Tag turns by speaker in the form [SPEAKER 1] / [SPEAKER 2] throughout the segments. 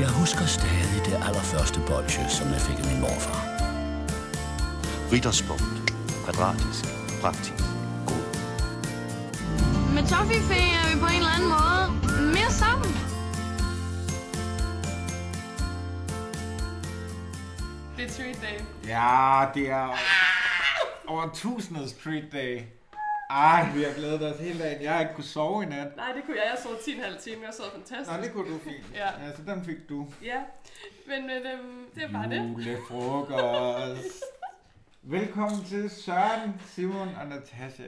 [SPEAKER 1] Jeg husker stadig det allerførste bolsje, som jeg fik af min morfar.
[SPEAKER 2] Ritterspunkt. Kvadratisk. Praktisk. God.
[SPEAKER 3] Med Toffifee er vi på en eller anden måde mere sammen.
[SPEAKER 4] Det er treat day.
[SPEAKER 5] Ja, det er over tusinders treat day. Ej, vi har glædet os hele dagen. Jeg har ikke kunnet sove i nat.
[SPEAKER 4] Nej, det kunne jeg. Jeg sov 10,5 timer. Jeg sov fantastisk.
[SPEAKER 5] Nå, det kunne du fint.
[SPEAKER 4] Ja.
[SPEAKER 5] Altså, den fik du.
[SPEAKER 4] Ja. Men, men øhm, det er bare det.
[SPEAKER 5] Mm. Julefrokost. Velkommen til Søren, Simon og Natasha.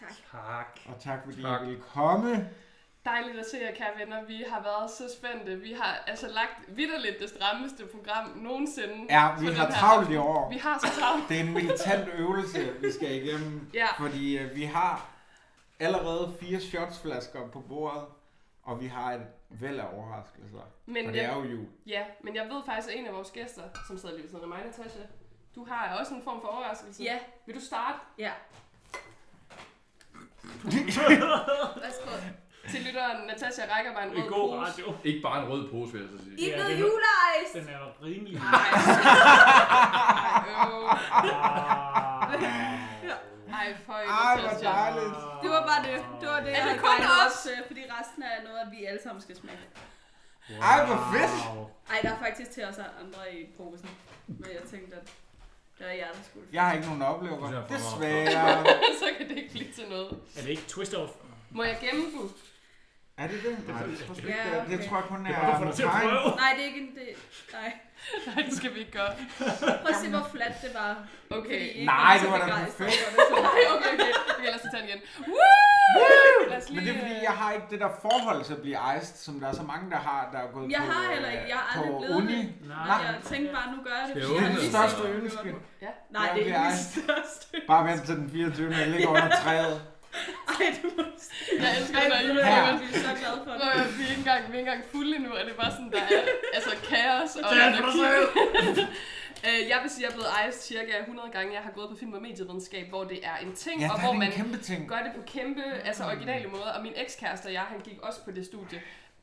[SPEAKER 4] Tak.
[SPEAKER 5] Tak. Og tak fordi
[SPEAKER 6] Tak.
[SPEAKER 5] I ville komme.
[SPEAKER 4] Dejligt at se jer, kære venner. Vi har været så spændte. Vi har altså lagt vidderligt det strammeste program nogensinde.
[SPEAKER 5] Ja, vi
[SPEAKER 4] på den
[SPEAKER 5] har
[SPEAKER 4] her
[SPEAKER 5] travlt i
[SPEAKER 4] aften.
[SPEAKER 5] år.
[SPEAKER 4] Vi har så travlt.
[SPEAKER 5] Det er en militant øvelse, vi skal igennem.
[SPEAKER 4] Ja.
[SPEAKER 5] Fordi øh, vi har allerede fire shotsflasker på bordet, og vi har et væld af overraskelser.
[SPEAKER 4] Men
[SPEAKER 5] for det
[SPEAKER 4] jeg-
[SPEAKER 5] er jo jul.
[SPEAKER 4] Ja, men jeg ved faktisk, at en af vores gæster, som sidder lige ved siden af mig, Natasha, du har også en form for overraskelse.
[SPEAKER 7] Ja.
[SPEAKER 4] Vil du starte?
[SPEAKER 7] Ja.
[SPEAKER 4] Værsgo. Til lytteren, Natasha rækker bare en
[SPEAKER 6] Det
[SPEAKER 4] rød
[SPEAKER 6] er god
[SPEAKER 4] pose.
[SPEAKER 6] radio.
[SPEAKER 8] Ikke bare en rød pose, vil jeg så sige.
[SPEAKER 7] Ikke
[SPEAKER 6] Ja,
[SPEAKER 7] noget
[SPEAKER 6] det er-
[SPEAKER 7] juleejs.
[SPEAKER 6] Den er rimelig...
[SPEAKER 4] Øh, Ej, for
[SPEAKER 5] Ej, hvor dejligt.
[SPEAKER 7] Det var bare det. Det var det,
[SPEAKER 4] Er
[SPEAKER 7] jeg
[SPEAKER 4] det
[SPEAKER 7] havde
[SPEAKER 4] kun
[SPEAKER 7] guidet
[SPEAKER 4] os?
[SPEAKER 7] til, fordi resten er noget, vi alle sammen skal smage.
[SPEAKER 5] Ej, hvor fedt.
[SPEAKER 7] Ej, der er faktisk til os andre i posen. Men jeg tænkte, at det var jer, der skulle.
[SPEAKER 5] Jeg har ikke nogen oplever.
[SPEAKER 8] Det er for meget.
[SPEAKER 5] Desværre.
[SPEAKER 4] Så kan det ikke blive til noget.
[SPEAKER 6] Er det ikke twist off?
[SPEAKER 4] Må jeg gemme den?
[SPEAKER 5] Er det det? Nej, det tror jeg ikke.
[SPEAKER 7] Ja,
[SPEAKER 5] det er. Det
[SPEAKER 7] okay.
[SPEAKER 5] tror jeg kun
[SPEAKER 6] Det er bare for dig
[SPEAKER 5] er
[SPEAKER 6] til at prøve.
[SPEAKER 7] Nej, det er ikke en del. Nej.
[SPEAKER 4] Nej, det skal vi ikke gøre.
[SPEAKER 7] Prøv at se, hvor fladt det var.
[SPEAKER 4] Okay.
[SPEAKER 7] Fordi I ikke
[SPEAKER 5] Nej,
[SPEAKER 7] så
[SPEAKER 5] det var da
[SPEAKER 7] begejstrede
[SPEAKER 5] perfekt.
[SPEAKER 7] for det, så
[SPEAKER 4] Nej, okay, okay. Vi kan lade os tage den igen. Woo! Lad os lige...
[SPEAKER 5] Men det er fordi, jeg har ikke det der forhold til at blive iced, som der er så mange, der har, der er gået
[SPEAKER 7] Jeg
[SPEAKER 5] på,
[SPEAKER 7] har heller ikke. Jeg har aldrig
[SPEAKER 5] på
[SPEAKER 7] blevet
[SPEAKER 5] uni.
[SPEAKER 7] det.
[SPEAKER 6] Nej.
[SPEAKER 7] Jeg tænkte bare, nu gør jeg det.
[SPEAKER 8] Skal jeg
[SPEAKER 7] fordi
[SPEAKER 5] Det
[SPEAKER 7] jeg
[SPEAKER 5] er det
[SPEAKER 8] åbne den?
[SPEAKER 7] har lige
[SPEAKER 5] største
[SPEAKER 7] set, at det
[SPEAKER 5] ønske.
[SPEAKER 7] var nu.
[SPEAKER 4] Ja.
[SPEAKER 7] Nej, det er ikke
[SPEAKER 5] Jeg
[SPEAKER 7] det største.
[SPEAKER 5] Bare vent til den 24. Jeg ligger under træet.
[SPEAKER 7] Ej, du må
[SPEAKER 4] øh, Jeg elsker dig.
[SPEAKER 7] Ej,
[SPEAKER 5] Her.
[SPEAKER 7] jeg er så glad for
[SPEAKER 4] Nå,
[SPEAKER 7] det.
[SPEAKER 4] ja, vi er ikke engang, vi er ikke engang fulde endnu, og det er bare sådan, der er altså, kaos og
[SPEAKER 6] Det er for dig selv.
[SPEAKER 4] Øh, jeg vil sige, at jeg er blevet iced cirka 100 gange. Jeg har gået på film- og medievidenskab, hvor det er en ting,
[SPEAKER 5] Ja,
[SPEAKER 4] og
[SPEAKER 5] der
[SPEAKER 4] hvor
[SPEAKER 5] er det
[SPEAKER 4] man
[SPEAKER 5] en kæmpe ting.
[SPEAKER 4] gør det på kæmpe,
[SPEAKER 5] Mm.
[SPEAKER 4] altså originale måder. Og min ekskæreste og jeg, han gik også på det studie.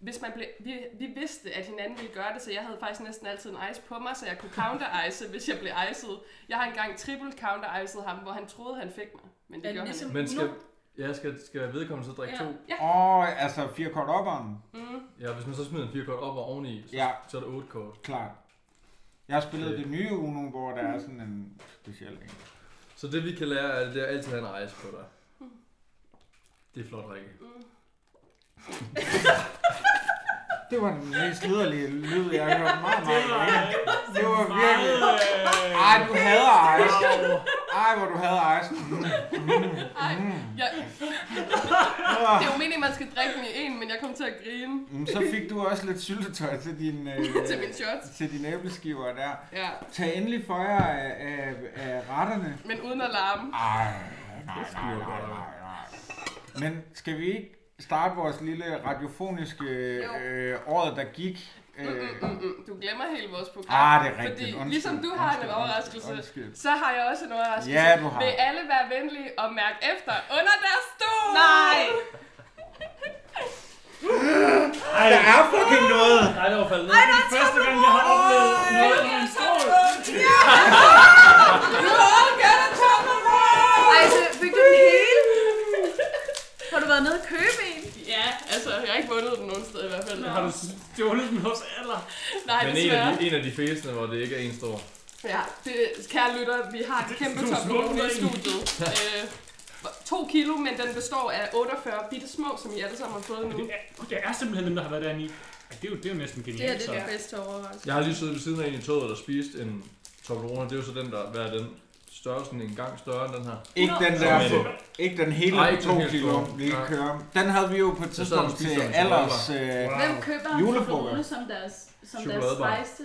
[SPEAKER 4] Hvis man blev, vi, vi vidste, at hinanden ville gøre det, så jeg havde faktisk næsten altid en ice på mig, så jeg kunne counter-ice, hvis jeg blev iced. Jeg har engang triple counter-iced ham, hvor han troede, han fik mig. Men det
[SPEAKER 7] Er det
[SPEAKER 4] gjorde
[SPEAKER 7] ligesom
[SPEAKER 4] han
[SPEAKER 8] Men skal,
[SPEAKER 7] nu?
[SPEAKER 8] ja, skal, skal vedkommende så drikke
[SPEAKER 7] Ja.
[SPEAKER 8] to?
[SPEAKER 5] Åh, altså fire kort operen.
[SPEAKER 8] Ja, hvis man så smider en fire kort op og oveni, så,
[SPEAKER 5] Ja.
[SPEAKER 8] så er det otte kort.
[SPEAKER 5] Klart. Jeg har spillet
[SPEAKER 8] Okay.
[SPEAKER 5] det nye Uno, hvor der er sådan en speciel en.
[SPEAKER 8] Så det vi kan lære, er, at det er altid at have en rejse på dig. Det er flot, Rikke.
[SPEAKER 6] Mm.
[SPEAKER 5] Det var den mest liderlige lyd, jeg har hørt meget, meget længe. Det var virkelig...
[SPEAKER 6] Meget, øh,
[SPEAKER 5] Ej, du hader Ice.
[SPEAKER 6] wow.
[SPEAKER 5] Ej, hvor du hader Ice.
[SPEAKER 4] Ej, jeg, det er jo meningen, man skal drikke den i en, men jeg kom til at grine
[SPEAKER 5] Mm, Så fik du også lidt syltetøj til din... Øh,
[SPEAKER 4] til min shorts.
[SPEAKER 5] til dine æbleskiver der.
[SPEAKER 4] Ja,
[SPEAKER 5] Tag endelig for jer af, af, af retterne.
[SPEAKER 4] men uden at larme.
[SPEAKER 5] Ej, nej, nej, nej,
[SPEAKER 4] altså.
[SPEAKER 5] nej, nej. Men skal vi ikke starte vores lille radiofoniske
[SPEAKER 4] Jo.
[SPEAKER 5] øh, året, der gik? Øh,
[SPEAKER 4] Mm, Du glemmer hele vores program.
[SPEAKER 5] Ah, det er rigtigt.
[SPEAKER 4] Fordi
[SPEAKER 5] Undskyld,
[SPEAKER 4] ligesom du har
[SPEAKER 5] undskyld,
[SPEAKER 4] en overraskelse,
[SPEAKER 5] undskyld, undskyld.
[SPEAKER 4] så har jeg også en overraskelse.
[SPEAKER 5] Ja, du har.
[SPEAKER 4] Vil alle være venlige og mærke efter under deres stol?
[SPEAKER 7] Nej!
[SPEAKER 6] Ej,
[SPEAKER 5] der er fucking noget!
[SPEAKER 6] nej, det var faldet ned. Det er første gang, jeg har oplevet noget under en stol.
[SPEAKER 7] Ej, så fik du den hele? Har du været nede og købe en?
[SPEAKER 4] Ja, altså, jeg har ikke vundet den nogen sted i hvert fald.
[SPEAKER 6] Har du stjålet den hos aller?
[SPEAKER 4] Nej,
[SPEAKER 8] Men en
[SPEAKER 4] desværre.
[SPEAKER 8] af, de, en af de fæsende, hvor det ikke er en stor.
[SPEAKER 4] Ja, det, kære lytter, vi har et kæmpe
[SPEAKER 6] Du
[SPEAKER 4] topmelone i
[SPEAKER 6] smukker
[SPEAKER 4] studiet. Øh, to kilo, men den består af 48 bitte små, som I alle sammen har fået nu.
[SPEAKER 6] Det er, gud, det er simpelthen dem, der har været derinde i. Ej, det er jo, det er jo næsten
[SPEAKER 7] Det her
[SPEAKER 6] genialt.
[SPEAKER 7] det
[SPEAKER 6] så.
[SPEAKER 7] er det bedste overraskelse.
[SPEAKER 8] Jeg har lige siddet ved siden af en i toget, der spiste en Toblerone. Det er jo så den, der hvad er den størrelsen en gang større end den her.
[SPEAKER 5] Ikke den
[SPEAKER 8] Sådan
[SPEAKER 5] der,
[SPEAKER 8] er
[SPEAKER 5] på- ikke den hele
[SPEAKER 8] Nej,
[SPEAKER 5] på
[SPEAKER 8] ikke
[SPEAKER 5] to
[SPEAKER 8] den helt
[SPEAKER 5] kilo,
[SPEAKER 8] store.
[SPEAKER 5] vi kan
[SPEAKER 8] Ja.
[SPEAKER 5] køre. Den havde vi jo på et
[SPEAKER 8] Så sad
[SPEAKER 5] tidspunkt
[SPEAKER 8] den
[SPEAKER 5] til
[SPEAKER 8] spiste den som
[SPEAKER 5] alders... Øh,
[SPEAKER 6] Wow.
[SPEAKER 7] Hvem køber en
[SPEAKER 5] Julefrokost.
[SPEAKER 7] chokolade som deres, som deres
[SPEAKER 8] Chokoladebar.
[SPEAKER 7] rejste?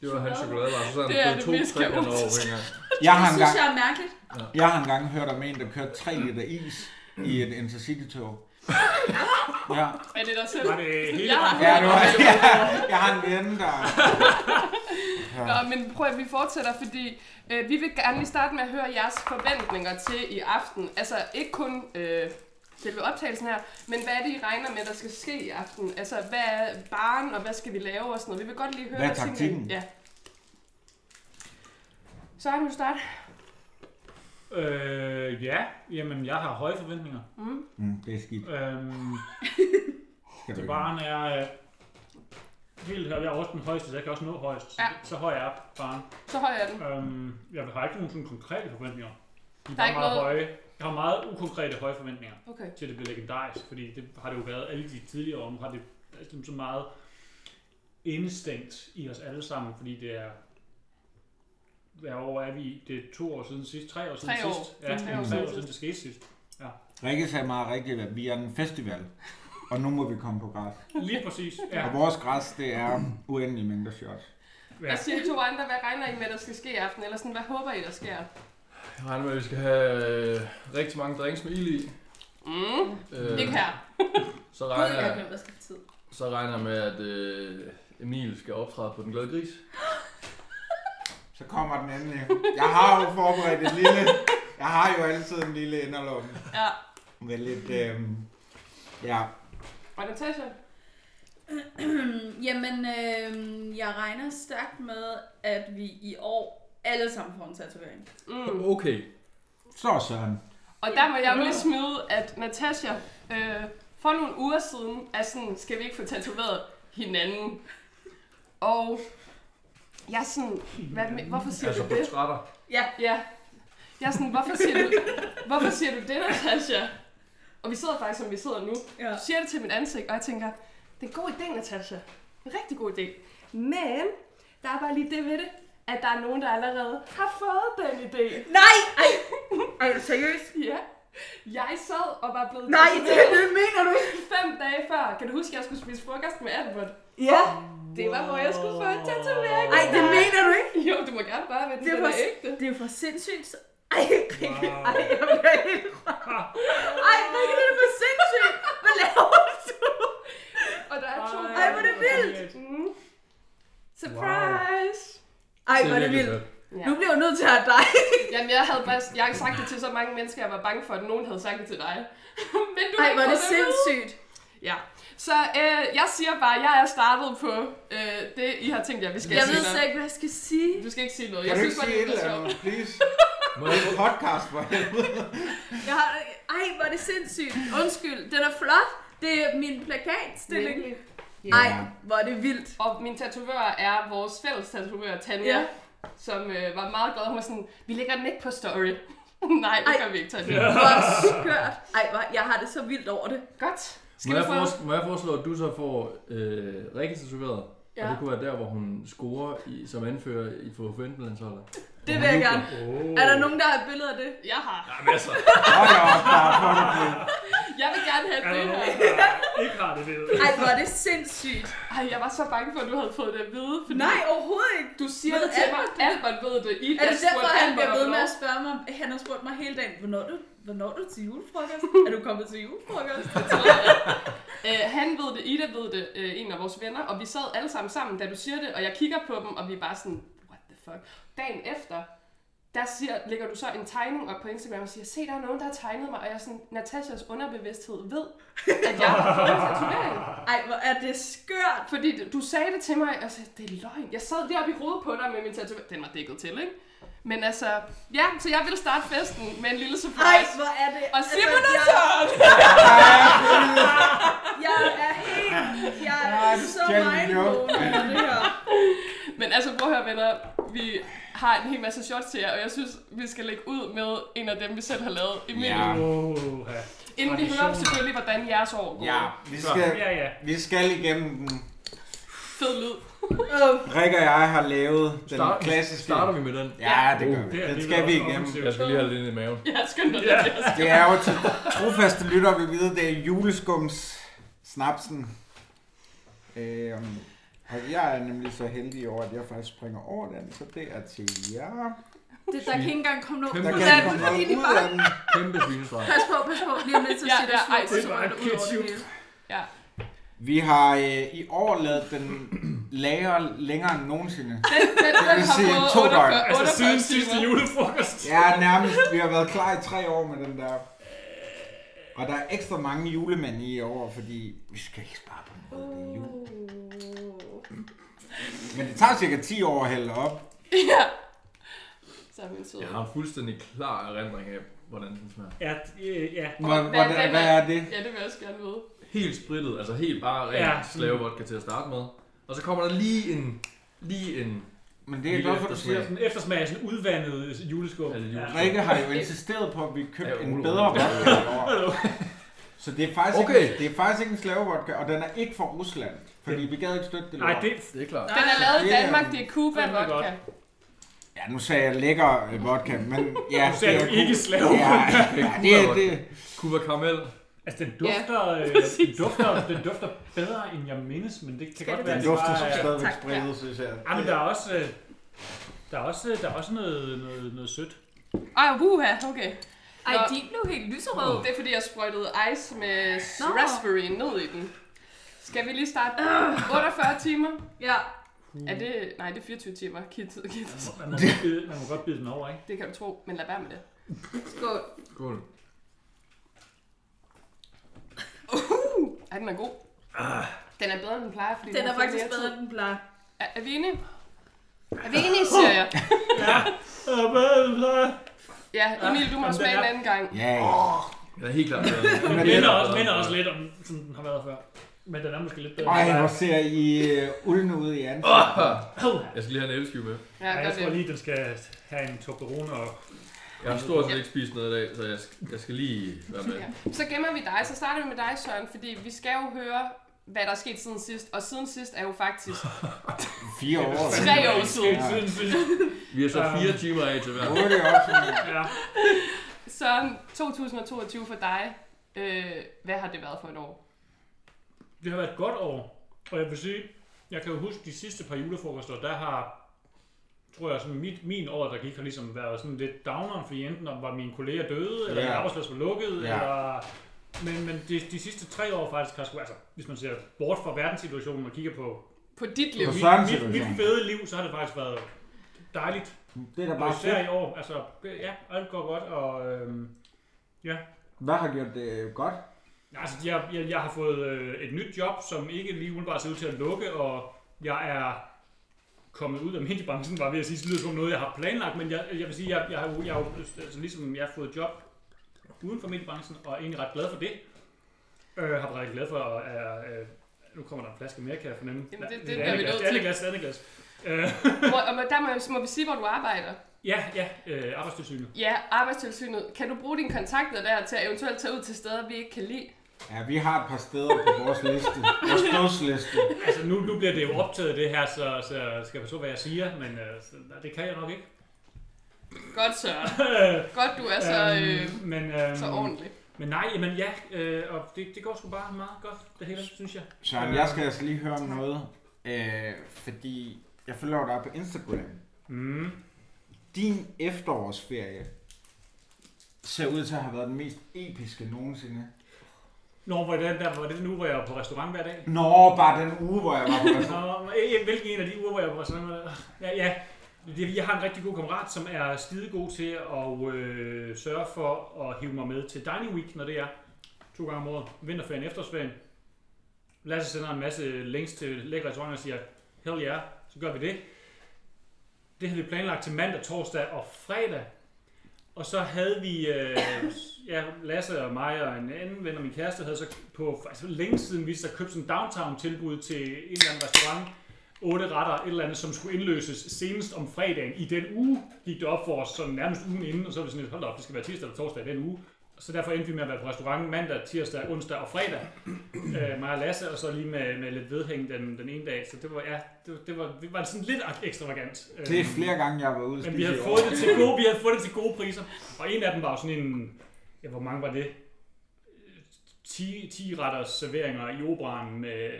[SPEAKER 8] Det var hans chokoladebar, så sad
[SPEAKER 4] Det er
[SPEAKER 8] han
[SPEAKER 4] det
[SPEAKER 8] på to
[SPEAKER 4] mest
[SPEAKER 8] trekanter over
[SPEAKER 4] kaotiske.
[SPEAKER 8] hænger.
[SPEAKER 5] jeg,
[SPEAKER 7] Det
[SPEAKER 5] har
[SPEAKER 7] synes
[SPEAKER 5] engang,
[SPEAKER 7] jeg er mærkeligt.
[SPEAKER 5] jeg har engang hørt om en, der kørte 3 liter is i et intercity-tog. Ja.
[SPEAKER 4] Er det dig selv?
[SPEAKER 6] Var det hele
[SPEAKER 4] Jeg har-
[SPEAKER 6] vejen?
[SPEAKER 5] Ja, det var, ja, jeg har en ven, der...
[SPEAKER 4] Nå, men prøv at vi fortsætter, fordi øh, vi vil gerne lige starte med at høre jeres forventninger til i aften. Altså ikke kun øh, selve optagelsen her. Men hvad er det, I regner med, der skal ske i aften? Altså, hvad er baren, og hvad skal vi lave og sådan noget? Vi vil godt lige høre...
[SPEAKER 5] Hvad er
[SPEAKER 4] tingene-
[SPEAKER 5] taktikken?
[SPEAKER 4] Ja. Så har du start.
[SPEAKER 6] Øh, ja, jamen jeg har høje forventninger.
[SPEAKER 5] Mm, det er skidt.
[SPEAKER 6] Øhm,
[SPEAKER 5] Skal du
[SPEAKER 6] så
[SPEAKER 5] ikke.
[SPEAKER 6] baren er øh, helt her. Jeg er også den højeste, så jeg kan også nå højst. Så-
[SPEAKER 4] Ja.
[SPEAKER 6] Så høj er baren.
[SPEAKER 4] Så høj er den.
[SPEAKER 6] Øhm, jeg har ikke nogen sådan konkrete forventninger. De
[SPEAKER 4] Der
[SPEAKER 6] er
[SPEAKER 4] er
[SPEAKER 6] bare
[SPEAKER 4] ikke
[SPEAKER 6] meget
[SPEAKER 4] noget-
[SPEAKER 6] høje. Jeg har meget ukonkrete høje forventninger
[SPEAKER 4] Okay.
[SPEAKER 6] til, at det bliver legendarisk, fordi det har det jo været alle de tidligere år, nu har det altså, så meget indestængt i os alle sammen, fordi det er hvad år er vi i? Det er to år siden sidst, tre år siden
[SPEAKER 4] Tre år.
[SPEAKER 6] sidst.
[SPEAKER 4] Det
[SPEAKER 6] Ja,
[SPEAKER 4] er
[SPEAKER 6] tre år, siden. det skete sidst.
[SPEAKER 5] Rikke sagde meget rigtigt, at vi er en festival. Og nu må vi komme på græs.
[SPEAKER 6] Lige præcis. Ja.
[SPEAKER 5] Og vores græs, det er uendelige mængder shots.
[SPEAKER 6] Ja.
[SPEAKER 4] Hvad siger de to andre? Hvad regner I med, der skal ske i aften? Eller sådan, hvad håber I, der sker?
[SPEAKER 8] Jeg regner med, at vi skal have øh, rigtig mange drinks med ild i.
[SPEAKER 4] Mm.
[SPEAKER 8] Øh,
[SPEAKER 4] Ikke her.
[SPEAKER 8] Så
[SPEAKER 7] Gud,
[SPEAKER 8] regner
[SPEAKER 7] jeg har
[SPEAKER 8] jeg,
[SPEAKER 7] glemt at skrive tid.
[SPEAKER 8] så regner jeg med, at øh, Emil skal optræde på Den Glade Gris.
[SPEAKER 5] Så kommer den endelig. Jeg har jo forberedt en lille... Jeg har jo altid en lille inderlomme.
[SPEAKER 4] Ja.
[SPEAKER 5] Med lidt... Øh, ja,
[SPEAKER 4] Og Natasha?
[SPEAKER 7] Øhm, Jamen, øh, jeg regner stærkt med, at vi i år alle sammen får en tatovering.
[SPEAKER 4] Mm.
[SPEAKER 8] Okay.
[SPEAKER 5] så er Søren.
[SPEAKER 4] Og der må jeg jo lige smide, at Natasha øh, for nogle uger siden er sådan, skal vi ikke få tatoveret hinanden? Og jeg er sådan, hvad, med- hvorfor siger
[SPEAKER 8] Altså
[SPEAKER 4] du det?
[SPEAKER 8] portrætter.
[SPEAKER 4] Ja. Jeg er sådan, hvorfor siger du, hvorfor siger du det, Natasha? Og vi sidder faktisk, som vi sidder nu.
[SPEAKER 7] Ja.
[SPEAKER 4] Du siger det til mit ansigt, og jeg tænker, det er en god idé, Natasha. En rigtig god idé. Men der er bare lige det ved det, at der er nogen, der allerede har fået den idé.
[SPEAKER 7] Nej! Ej, ej seriøst?
[SPEAKER 4] Ja. Jeg sad og var blevet
[SPEAKER 7] Nej, det,
[SPEAKER 4] tatoveret
[SPEAKER 7] det mener du ikke!
[SPEAKER 4] fem dage før. Kan du huske, at jeg skulle spise frokost med Albert?
[SPEAKER 7] Ja!
[SPEAKER 4] Det var, hvor jeg skulle få en tatovering.
[SPEAKER 7] Ej, det mener du ikke!
[SPEAKER 4] Jo, du må gerne bare vende
[SPEAKER 7] Det
[SPEAKER 4] det,
[SPEAKER 7] var-
[SPEAKER 4] det ægte.
[SPEAKER 7] Det er jo for sindssygt. så- Ej, Rikke, ej, jeg bliver helt rørt. Ej, Rikke, det er for sindssygt. Hvad laver du?
[SPEAKER 4] Og der er to.
[SPEAKER 7] Ej, hvor er det vildt.
[SPEAKER 4] Mm. Surprise!
[SPEAKER 7] Ej, hvor er det
[SPEAKER 8] virkelig
[SPEAKER 7] vildt.
[SPEAKER 8] fedt.
[SPEAKER 4] Ja.
[SPEAKER 7] Nu bliver jeg jo nødt til at have dig.
[SPEAKER 4] Jamen, jeg havde bare, jeg har sagt det til så mange mennesker, jeg var bange for, at nogen havde sagt det til dig. Men du har
[SPEAKER 7] Ej,
[SPEAKER 4] ikke
[SPEAKER 7] hvor er
[SPEAKER 4] fået
[SPEAKER 7] det
[SPEAKER 4] at vide.
[SPEAKER 7] sindssygt.
[SPEAKER 4] Ja. Så øh, jeg siger bare, at jeg er startet på øh, det, I har tænkt jer, vi skal
[SPEAKER 7] Jeg
[SPEAKER 4] sige
[SPEAKER 7] ved
[SPEAKER 4] noget.
[SPEAKER 7] slet ikke, hvad jeg skal sige.
[SPEAKER 4] Du skal ikke sige noget.
[SPEAKER 5] Kan
[SPEAKER 4] Jeg
[SPEAKER 5] du
[SPEAKER 4] synes
[SPEAKER 5] ikke sige
[SPEAKER 4] bare, det
[SPEAKER 5] et
[SPEAKER 4] er
[SPEAKER 5] eller
[SPEAKER 4] sjovt.
[SPEAKER 5] andet, please?
[SPEAKER 8] Må jeg få-
[SPEAKER 5] Podcast for helvede.
[SPEAKER 7] Jeg har, ej, hvor er det sindssygt. Undskyld, den er flot. Det er min plakatstilling.
[SPEAKER 4] Virkelig.
[SPEAKER 7] Ej, hvor er det vildt.
[SPEAKER 4] Og min tatovør er vores fælles tatovør, Tanja,
[SPEAKER 7] Ja.
[SPEAKER 4] ja. som øh, var meget glad. Hun var sådan, vi lægger den ikke på story. Nej, det
[SPEAKER 7] Ej.
[SPEAKER 4] gør vi ikke, Tanja. Ja.
[SPEAKER 7] Hvor skørt. Ej, hvor, jeg har det så vildt over det.
[SPEAKER 4] Godt.
[SPEAKER 8] Må
[SPEAKER 4] Skal vi
[SPEAKER 8] jeg,
[SPEAKER 4] få...
[SPEAKER 8] foreslå, må jeg foreslå, at du så får øh, Rikke tatoveret?
[SPEAKER 4] Ja.
[SPEAKER 8] Ja. Og det kunne være der, hvor hun scorer i, som anfører i for forventningsholdet.
[SPEAKER 7] Det vil jeg gerne. Er der nogen, der har et billede af det?
[SPEAKER 4] Jeg har.
[SPEAKER 6] Jamen altså,
[SPEAKER 5] Hold da op, der er fundet på.
[SPEAKER 4] Jeg vil gerne have
[SPEAKER 6] er der
[SPEAKER 4] det
[SPEAKER 6] nogen,
[SPEAKER 4] her.
[SPEAKER 6] der ikke har det ved?
[SPEAKER 7] Ej, hvor er det sindssygt.
[SPEAKER 4] Ej, jeg var så bange for, at du havde fået det at vide. Fordi
[SPEAKER 7] Nej, overhovedet ikke.
[SPEAKER 4] Du siger
[SPEAKER 7] Ved
[SPEAKER 4] det til mig.
[SPEAKER 7] Albert
[SPEAKER 4] Albert ved det. I
[SPEAKER 7] Er det
[SPEAKER 4] spurgte
[SPEAKER 7] derfor, han bliver
[SPEAKER 4] om
[SPEAKER 7] ved med
[SPEAKER 4] lov.
[SPEAKER 7] at spørge mig? Han har spurgt mig hele dagen, hvornår er du, hvornår er du til julefrokost? Er du kommet til julefrokost?
[SPEAKER 4] Øh, han ved det, Ida ved det, øh, en af vores venner, og vi sad alle sammen sammen, da du siger det, og jeg kigger på dem, og vi er bare sådan, what the fuck. Dagen efter, der siger, lægger du så en tegning op på Instagram og siger, se, der er nogen, der har tegnet mig, og jeg er sådan, Natashas underbevidsthed ved, at jeg har fået en tatovering.
[SPEAKER 7] Ej, hvor er det skørt.
[SPEAKER 4] Fordi du- du sagde det til mig, og jeg sagde, det er løgn. Jeg sad deroppe i hovedet på dig med min tatovering. Den var dækket til, ikke? Men altså, ja, så jeg ville starte festen med en lille
[SPEAKER 7] Ej,
[SPEAKER 4] surprise.
[SPEAKER 7] hvor er det.
[SPEAKER 4] og
[SPEAKER 7] altså,
[SPEAKER 4] Simon og
[SPEAKER 7] jeg,
[SPEAKER 4] Søren!
[SPEAKER 7] jeg er helt, jeg er
[SPEAKER 5] Ej,
[SPEAKER 7] så
[SPEAKER 5] skal vi jo.
[SPEAKER 7] mindblown over det her.
[SPEAKER 4] Men altså, prøv at høre, venner. Vi har en hel masse shots til jer, og jeg synes, vi skal lægge ud med en af dem, vi selv har lavet. Emil,
[SPEAKER 5] Ja.
[SPEAKER 4] ja.
[SPEAKER 6] Åh, ja.
[SPEAKER 4] inden vi hører selvfølgelig, hvordan jeres år går.
[SPEAKER 5] Ja, vi skal,
[SPEAKER 6] Ja, ja.
[SPEAKER 5] vi skal igennem den.
[SPEAKER 4] Fed lyd.
[SPEAKER 7] Åh,
[SPEAKER 5] Rikke og jeg har lavet den
[SPEAKER 8] Start-
[SPEAKER 5] klassiske...
[SPEAKER 8] Starter vi med den?
[SPEAKER 5] Ja, det gør
[SPEAKER 8] Uh,
[SPEAKER 5] vi.
[SPEAKER 6] Det er
[SPEAKER 5] Den
[SPEAKER 6] alligevel
[SPEAKER 5] skal vi
[SPEAKER 6] også
[SPEAKER 5] igennem. Altså,
[SPEAKER 6] offensivt.
[SPEAKER 8] Jeg skal lige have lidt i maven.
[SPEAKER 4] Ja, skynd dig.
[SPEAKER 6] Ja.
[SPEAKER 4] Yeah.
[SPEAKER 5] Det er jo til trofaste lytter, vi ved, det er juleskums snapsen. Øhm, og jeg er nemlig så heldig over, at jeg faktisk springer over den, så det er til jer.
[SPEAKER 7] Det, der kan ikke engang komme noget.
[SPEAKER 8] Kæmpe
[SPEAKER 5] Der
[SPEAKER 7] ud
[SPEAKER 5] kan
[SPEAKER 7] af
[SPEAKER 5] ikke
[SPEAKER 7] det,
[SPEAKER 5] komme
[SPEAKER 7] fordi
[SPEAKER 5] noget
[SPEAKER 7] de
[SPEAKER 5] ud
[SPEAKER 7] bare...
[SPEAKER 5] af den.
[SPEAKER 8] Kæmpe svinesvar.
[SPEAKER 7] Pas på, pas på. Lige om lidt, så
[SPEAKER 4] Ja,
[SPEAKER 7] siger det
[SPEAKER 4] ja, ej,
[SPEAKER 7] surt,
[SPEAKER 6] det
[SPEAKER 7] så
[SPEAKER 6] var
[SPEAKER 7] rører det ud over det
[SPEAKER 6] ketchup.
[SPEAKER 7] hele.
[SPEAKER 4] Ja.
[SPEAKER 5] Vi har øh, i år lavet den lager længere end nogensinde.
[SPEAKER 4] Den, den, den
[SPEAKER 5] vil
[SPEAKER 4] har
[SPEAKER 5] sige
[SPEAKER 4] fået
[SPEAKER 5] to
[SPEAKER 4] 48,
[SPEAKER 5] døgn.
[SPEAKER 6] Altså,
[SPEAKER 4] 48
[SPEAKER 6] siden
[SPEAKER 4] timer.
[SPEAKER 6] sidste julefrokost.
[SPEAKER 5] Ja, nærmest. Vi har været klar i tre år med den der. Og der er ekstra mange julemænd i år, fordi vi skal ikke spare på noget. Det er jul. Men det tager cirka 10 år at hælde op.
[SPEAKER 4] ja. Så er min søde.
[SPEAKER 8] Jeg har en fuldstændig klar erindring af, hvordan den smager.
[SPEAKER 6] Ja, øh, ja.
[SPEAKER 5] Hvor,
[SPEAKER 4] Hvad-
[SPEAKER 5] hvad,
[SPEAKER 4] hvad-
[SPEAKER 5] hvad er det?
[SPEAKER 4] Ja, det vil jeg også gerne vide.
[SPEAKER 8] Helt sprittet, altså helt bare ren
[SPEAKER 6] Ja.
[SPEAKER 8] ja. slavevodka til at starte med. Og så kommer der lige en, lige en
[SPEAKER 5] Men det er
[SPEAKER 8] lille
[SPEAKER 5] godt, for du siger.
[SPEAKER 8] eftersmag.
[SPEAKER 6] Sådan eftersmag af sådan udvandet juleskum.
[SPEAKER 8] Ja, det er juleskum.
[SPEAKER 5] Rikke har jo insisteret på, at vi købte
[SPEAKER 8] Ja,
[SPEAKER 5] en
[SPEAKER 8] Ole,
[SPEAKER 5] bedre
[SPEAKER 8] Ole.
[SPEAKER 5] vodka i år. Så det er faktisk, okay.
[SPEAKER 8] Okay.
[SPEAKER 5] ikke, det er faktisk ikke en slavevodka, og den er ikke fra Rusland. Fordi vi gad ikke støtte det
[SPEAKER 6] Nej,
[SPEAKER 5] lort.
[SPEAKER 6] det,
[SPEAKER 8] Det er klart.
[SPEAKER 4] Den er lavet i
[SPEAKER 5] det er-
[SPEAKER 4] Danmark, det er Cuba
[SPEAKER 6] Fandme godt.
[SPEAKER 4] vodka.
[SPEAKER 5] Ja, nu sagde jeg lækker øh, vodka, men ja,
[SPEAKER 6] nu
[SPEAKER 5] det
[SPEAKER 6] sagde du
[SPEAKER 5] er
[SPEAKER 6] ikke
[SPEAKER 5] god-
[SPEAKER 6] slave.
[SPEAKER 5] Ja, ja, det, det,
[SPEAKER 8] Cuba Caramel.
[SPEAKER 6] Altså, den dufter, ja, øh, den,
[SPEAKER 4] præcis.
[SPEAKER 6] dufter, den dufter bedre, end jeg mindes, men det kan
[SPEAKER 7] Skal
[SPEAKER 6] godt
[SPEAKER 7] det
[SPEAKER 6] være,
[SPEAKER 5] den
[SPEAKER 7] den
[SPEAKER 6] at
[SPEAKER 5] dufter som
[SPEAKER 6] bare er-
[SPEAKER 5] stadigvæk
[SPEAKER 7] tak,
[SPEAKER 5] spredet, synes jeg.
[SPEAKER 6] Ja, men der er også, øh, der er også, der er også noget, noget, noget sødt.
[SPEAKER 4] Ej, wuha, okay.
[SPEAKER 7] Ej,
[SPEAKER 4] Nå.
[SPEAKER 7] din blev helt lyserød.
[SPEAKER 4] Det er fordi, jeg sprøjtede ice med
[SPEAKER 7] Nå.
[SPEAKER 4] raspberry ned i den. Skal vi lige starte?
[SPEAKER 5] Øh.
[SPEAKER 4] 48 timer?
[SPEAKER 7] Ja.
[SPEAKER 4] Er
[SPEAKER 6] Mm.
[SPEAKER 4] det... Nej, det er 24 timer. Kit, kit.
[SPEAKER 6] Man må, godt bide, man må godt bide den over, ikke?
[SPEAKER 4] Det kan du tro, men lad være med det.
[SPEAKER 7] Skål.
[SPEAKER 8] Skål.
[SPEAKER 4] Ej, den er god.
[SPEAKER 6] Ah.
[SPEAKER 4] Den er bedre, end den plejer, fordi
[SPEAKER 7] Den
[SPEAKER 4] har
[SPEAKER 7] er
[SPEAKER 4] fået
[SPEAKER 7] faktisk
[SPEAKER 4] mere
[SPEAKER 7] bedre,
[SPEAKER 4] tid.
[SPEAKER 7] end den plejer.
[SPEAKER 4] Er, er vi enige?
[SPEAKER 6] Ah.
[SPEAKER 4] Er vi enige, siger jeg. Ja, Emil, du må
[SPEAKER 6] Ah. Jamen,
[SPEAKER 4] smage
[SPEAKER 6] den
[SPEAKER 4] en
[SPEAKER 6] er-
[SPEAKER 4] anden gang.
[SPEAKER 5] Ja, ja.
[SPEAKER 8] Jeg er helt klart.
[SPEAKER 6] Den
[SPEAKER 5] Men
[SPEAKER 6] minder
[SPEAKER 5] det-
[SPEAKER 6] også, minder også lidt om, som den har været før. Men den er måske lidt bedre.
[SPEAKER 5] Ej, hvor ser I uh, ulden ud i ansigtet.
[SPEAKER 8] Jeg skal lige have en æbleskive med.
[SPEAKER 4] Ja,
[SPEAKER 6] Ej, jeg
[SPEAKER 4] gør
[SPEAKER 6] tror
[SPEAKER 4] det.
[SPEAKER 6] lige, den skal have en Toblerone og...
[SPEAKER 8] Jeg har stort set ikke spist noget i dag, så jeg, sk- jeg skal lige være med.
[SPEAKER 4] Ja. Så gemmer vi dig, så starter vi med dig, Søren, fordi vi skal jo høre, hvad der er sket siden sidst. Og siden sidst er jo faktisk
[SPEAKER 6] Ah.
[SPEAKER 5] Fire år.
[SPEAKER 4] tre år siden.
[SPEAKER 6] Siden, siden.
[SPEAKER 8] Vi er så fire timer af til hver.
[SPEAKER 5] Otte år siden.
[SPEAKER 6] Ja.
[SPEAKER 4] Søren, 2022 for dig. Øh, hvad har det været for et år?
[SPEAKER 6] Det har været et godt år, og jeg vil sige, jeg kan jo huske de sidste par julefrokoster, der har, tror jeg, sådan mit, min år, der gik, har ligesom været sådan lidt downeren, fordi enten var mine kolleger døde, eller
[SPEAKER 5] Ja.
[SPEAKER 6] min arbejdsplads var lukket,
[SPEAKER 5] Ja.
[SPEAKER 6] eller... Men, men de, de sidste tre år faktisk har sgu, altså hvis man ser bort fra verdenssituationen og kigger på
[SPEAKER 4] På dit liv.
[SPEAKER 5] På
[SPEAKER 6] mit,
[SPEAKER 5] Sørens
[SPEAKER 6] mit,
[SPEAKER 5] situation.
[SPEAKER 6] mit fede liv, så har det faktisk været dejligt.
[SPEAKER 5] Det er da
[SPEAKER 6] Og
[SPEAKER 5] bare
[SPEAKER 6] især
[SPEAKER 5] fedt.
[SPEAKER 6] i år, altså ja, alt går godt, og øhm, ja,
[SPEAKER 5] Hvad har gjort det øh, godt?
[SPEAKER 6] Altså, jeg, jeg, jeg har fået øh, et nyt job, som ikke lige umiddelbart ser ud til at lukke, og jeg er kommet ud af mediebranchen, var ved at sige, så lyder det som noget, jeg har planlagt, men jeg, jeg vil sige, jeg, jeg, har, jo- jeg, har, jo- altså, ligesom jeg har fået job uden for mediebranchen, og er egentlig ret glad for det. Øh, har været rigtig glad for, og er, øh, nu kommer der en flaske mere, kan jeg fornemme.
[SPEAKER 4] Jamen, det- det
[SPEAKER 6] er
[SPEAKER 4] bliver vi
[SPEAKER 6] andet glas,
[SPEAKER 4] nødt
[SPEAKER 6] det er
[SPEAKER 4] til.
[SPEAKER 6] andet glas, det er andet glas. Øh,
[SPEAKER 4] Må, og må- der må, må vi sige, hvor du arbejder.
[SPEAKER 6] ja, ja, øh, arbejdstilsynet.
[SPEAKER 4] Ja, Arbejdstilsynet. Kan du bruge dine kontakter der til at eventuelt tage ud til steder, vi ikke kan lide?
[SPEAKER 5] Ja, vi har et par steder på vores liste. Vores dødsliste.
[SPEAKER 6] Altså, nu, nu bliver det jo optaget det her, så, så skal jeg passe på, hvad jeg siger, men øh, så, nej, det kan jeg nok ikke.
[SPEAKER 4] Godt, så. Godt, du er så, øh,
[SPEAKER 6] Øhm, men, øhm,
[SPEAKER 4] så ordentlig.
[SPEAKER 6] Men nej, jamen ja, øh, og det, det går sgu bare meget godt, det hele, synes jeg.
[SPEAKER 5] Søren, jeg skal altså lige høre om noget. Øh, fordi jeg følger dig på Instagram.
[SPEAKER 6] Mm.
[SPEAKER 5] Din efterårsferie ser ud til at have været den mest episke nogensinde.
[SPEAKER 6] Nå, var det, der, var det den uge, hvor jeg var på restaurant hver dag?
[SPEAKER 5] Nå, bare den uge, hvor jeg var på restaurant.
[SPEAKER 6] Nå, øh, hvilken en af de uger, hvor jeg var på restaurant hver dag? Ja, ja. Det- Jeg har en rigtig god kammerat, som er skidegod til at øh, sørge for at hive mig med til Dining Week, når det er to gange om året. Vinterferien, efterårsferien. Lasse sender en masse links til lækre restauranter og siger, hell yeah, så gør vi det. Det havde vi planlagt til mandag, torsdag og fredag. Og så havde vi, øh, ja, Lasse og mig og en anden ven og min kæreste havde så på, faktisk længe siden vi så købt sådan en downtown-tilbud til en eller anden restaurant. Otte retter, et eller andet, som skulle indløses senest om fredagen. I den uge gik det op for os sådan nærmest ugen inden, og så var vi sådan lidt, hold da op, det skal være tirsdag eller torsdag i den uge. Så derfor endte vi med at være på restaurant mandag, tirsdag, onsdag og fredag. Øh, mig og Lasse, og så lige med, med lidt vedhæng den, den ene dag. Så det var, ja, det, var- det var, det var sådan lidt ekstravagant.
[SPEAKER 5] Det er
[SPEAKER 6] Øhm,
[SPEAKER 5] flere gange, jeg har været ude at
[SPEAKER 6] men
[SPEAKER 5] spise
[SPEAKER 6] vi havde,
[SPEAKER 5] i år.
[SPEAKER 6] fået det til gode, vi havde fået det til gode priser. Og en af dem var jo sådan en... Ja, hvor mange var det? 10, 10 retters serveringer i operan med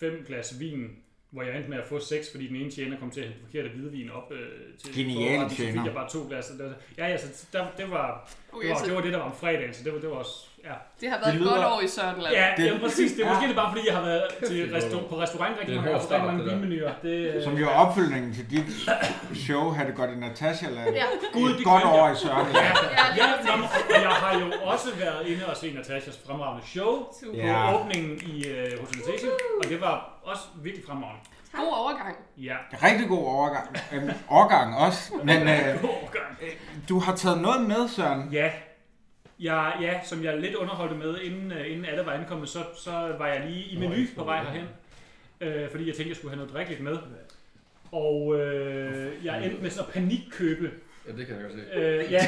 [SPEAKER 6] 5 glas vin, hvor jeg endte med at få seks, fordi den ene tjener kom til at hente den forkerte hvidvin op øh, til
[SPEAKER 5] Genial
[SPEAKER 6] forretten, så fik
[SPEAKER 5] tjener.
[SPEAKER 6] jeg bare to glas. og det- Ja, ja, så der, det, var,
[SPEAKER 4] Okay,
[SPEAKER 6] det, var,
[SPEAKER 4] så
[SPEAKER 6] det var det, der var om fredagen, så det var, det var også... Ja,
[SPEAKER 4] det har været
[SPEAKER 5] Det
[SPEAKER 4] et godt
[SPEAKER 5] lyder-
[SPEAKER 4] år i Sørenland.
[SPEAKER 6] ja
[SPEAKER 5] Det-
[SPEAKER 6] det, jamen, præcis. Det er måske det bare, fordi jeg har været til
[SPEAKER 8] Det er
[SPEAKER 6] restaur-
[SPEAKER 8] godt.
[SPEAKER 6] på restaurant
[SPEAKER 8] Det
[SPEAKER 6] rigtig
[SPEAKER 8] er en
[SPEAKER 6] mange, og
[SPEAKER 8] hård
[SPEAKER 6] fået rigtig
[SPEAKER 8] start,
[SPEAKER 6] mange
[SPEAKER 8] det der.
[SPEAKER 6] vinmenuer. Det, øh,
[SPEAKER 5] Som jo er opfølgningen til dit show, har det godt i Natasha Land.
[SPEAKER 7] Ja.
[SPEAKER 6] Gud,
[SPEAKER 5] Et
[SPEAKER 6] det
[SPEAKER 5] godt
[SPEAKER 6] glemte
[SPEAKER 5] år i
[SPEAKER 6] jeg.
[SPEAKER 5] Sørenland.
[SPEAKER 6] Ja, nå, men jeg har jo også været inde og se Natashas fremragende show på
[SPEAKER 5] Ja.
[SPEAKER 6] åbningen i øh, Hotel Station, og det var også virkelig fremragende.
[SPEAKER 4] God overgang.
[SPEAKER 6] Ja.
[SPEAKER 5] Rigtig god overgang. Øhm, årgang også. Men øh,
[SPEAKER 6] God gang.
[SPEAKER 5] du har taget noget med, Søren.
[SPEAKER 6] Ja. Ja, ja, som jeg lidt underholdte med, inden, øh, inden alle var ankommet, så, så var jeg lige i menu på vej herhen. Øh, fordi jeg tænkte, jeg skulle have noget drikkeligt med. Og øh, jeg endte med sådan at panikkøbe
[SPEAKER 8] Ja, det kan jeg godt se.
[SPEAKER 6] øh, ja,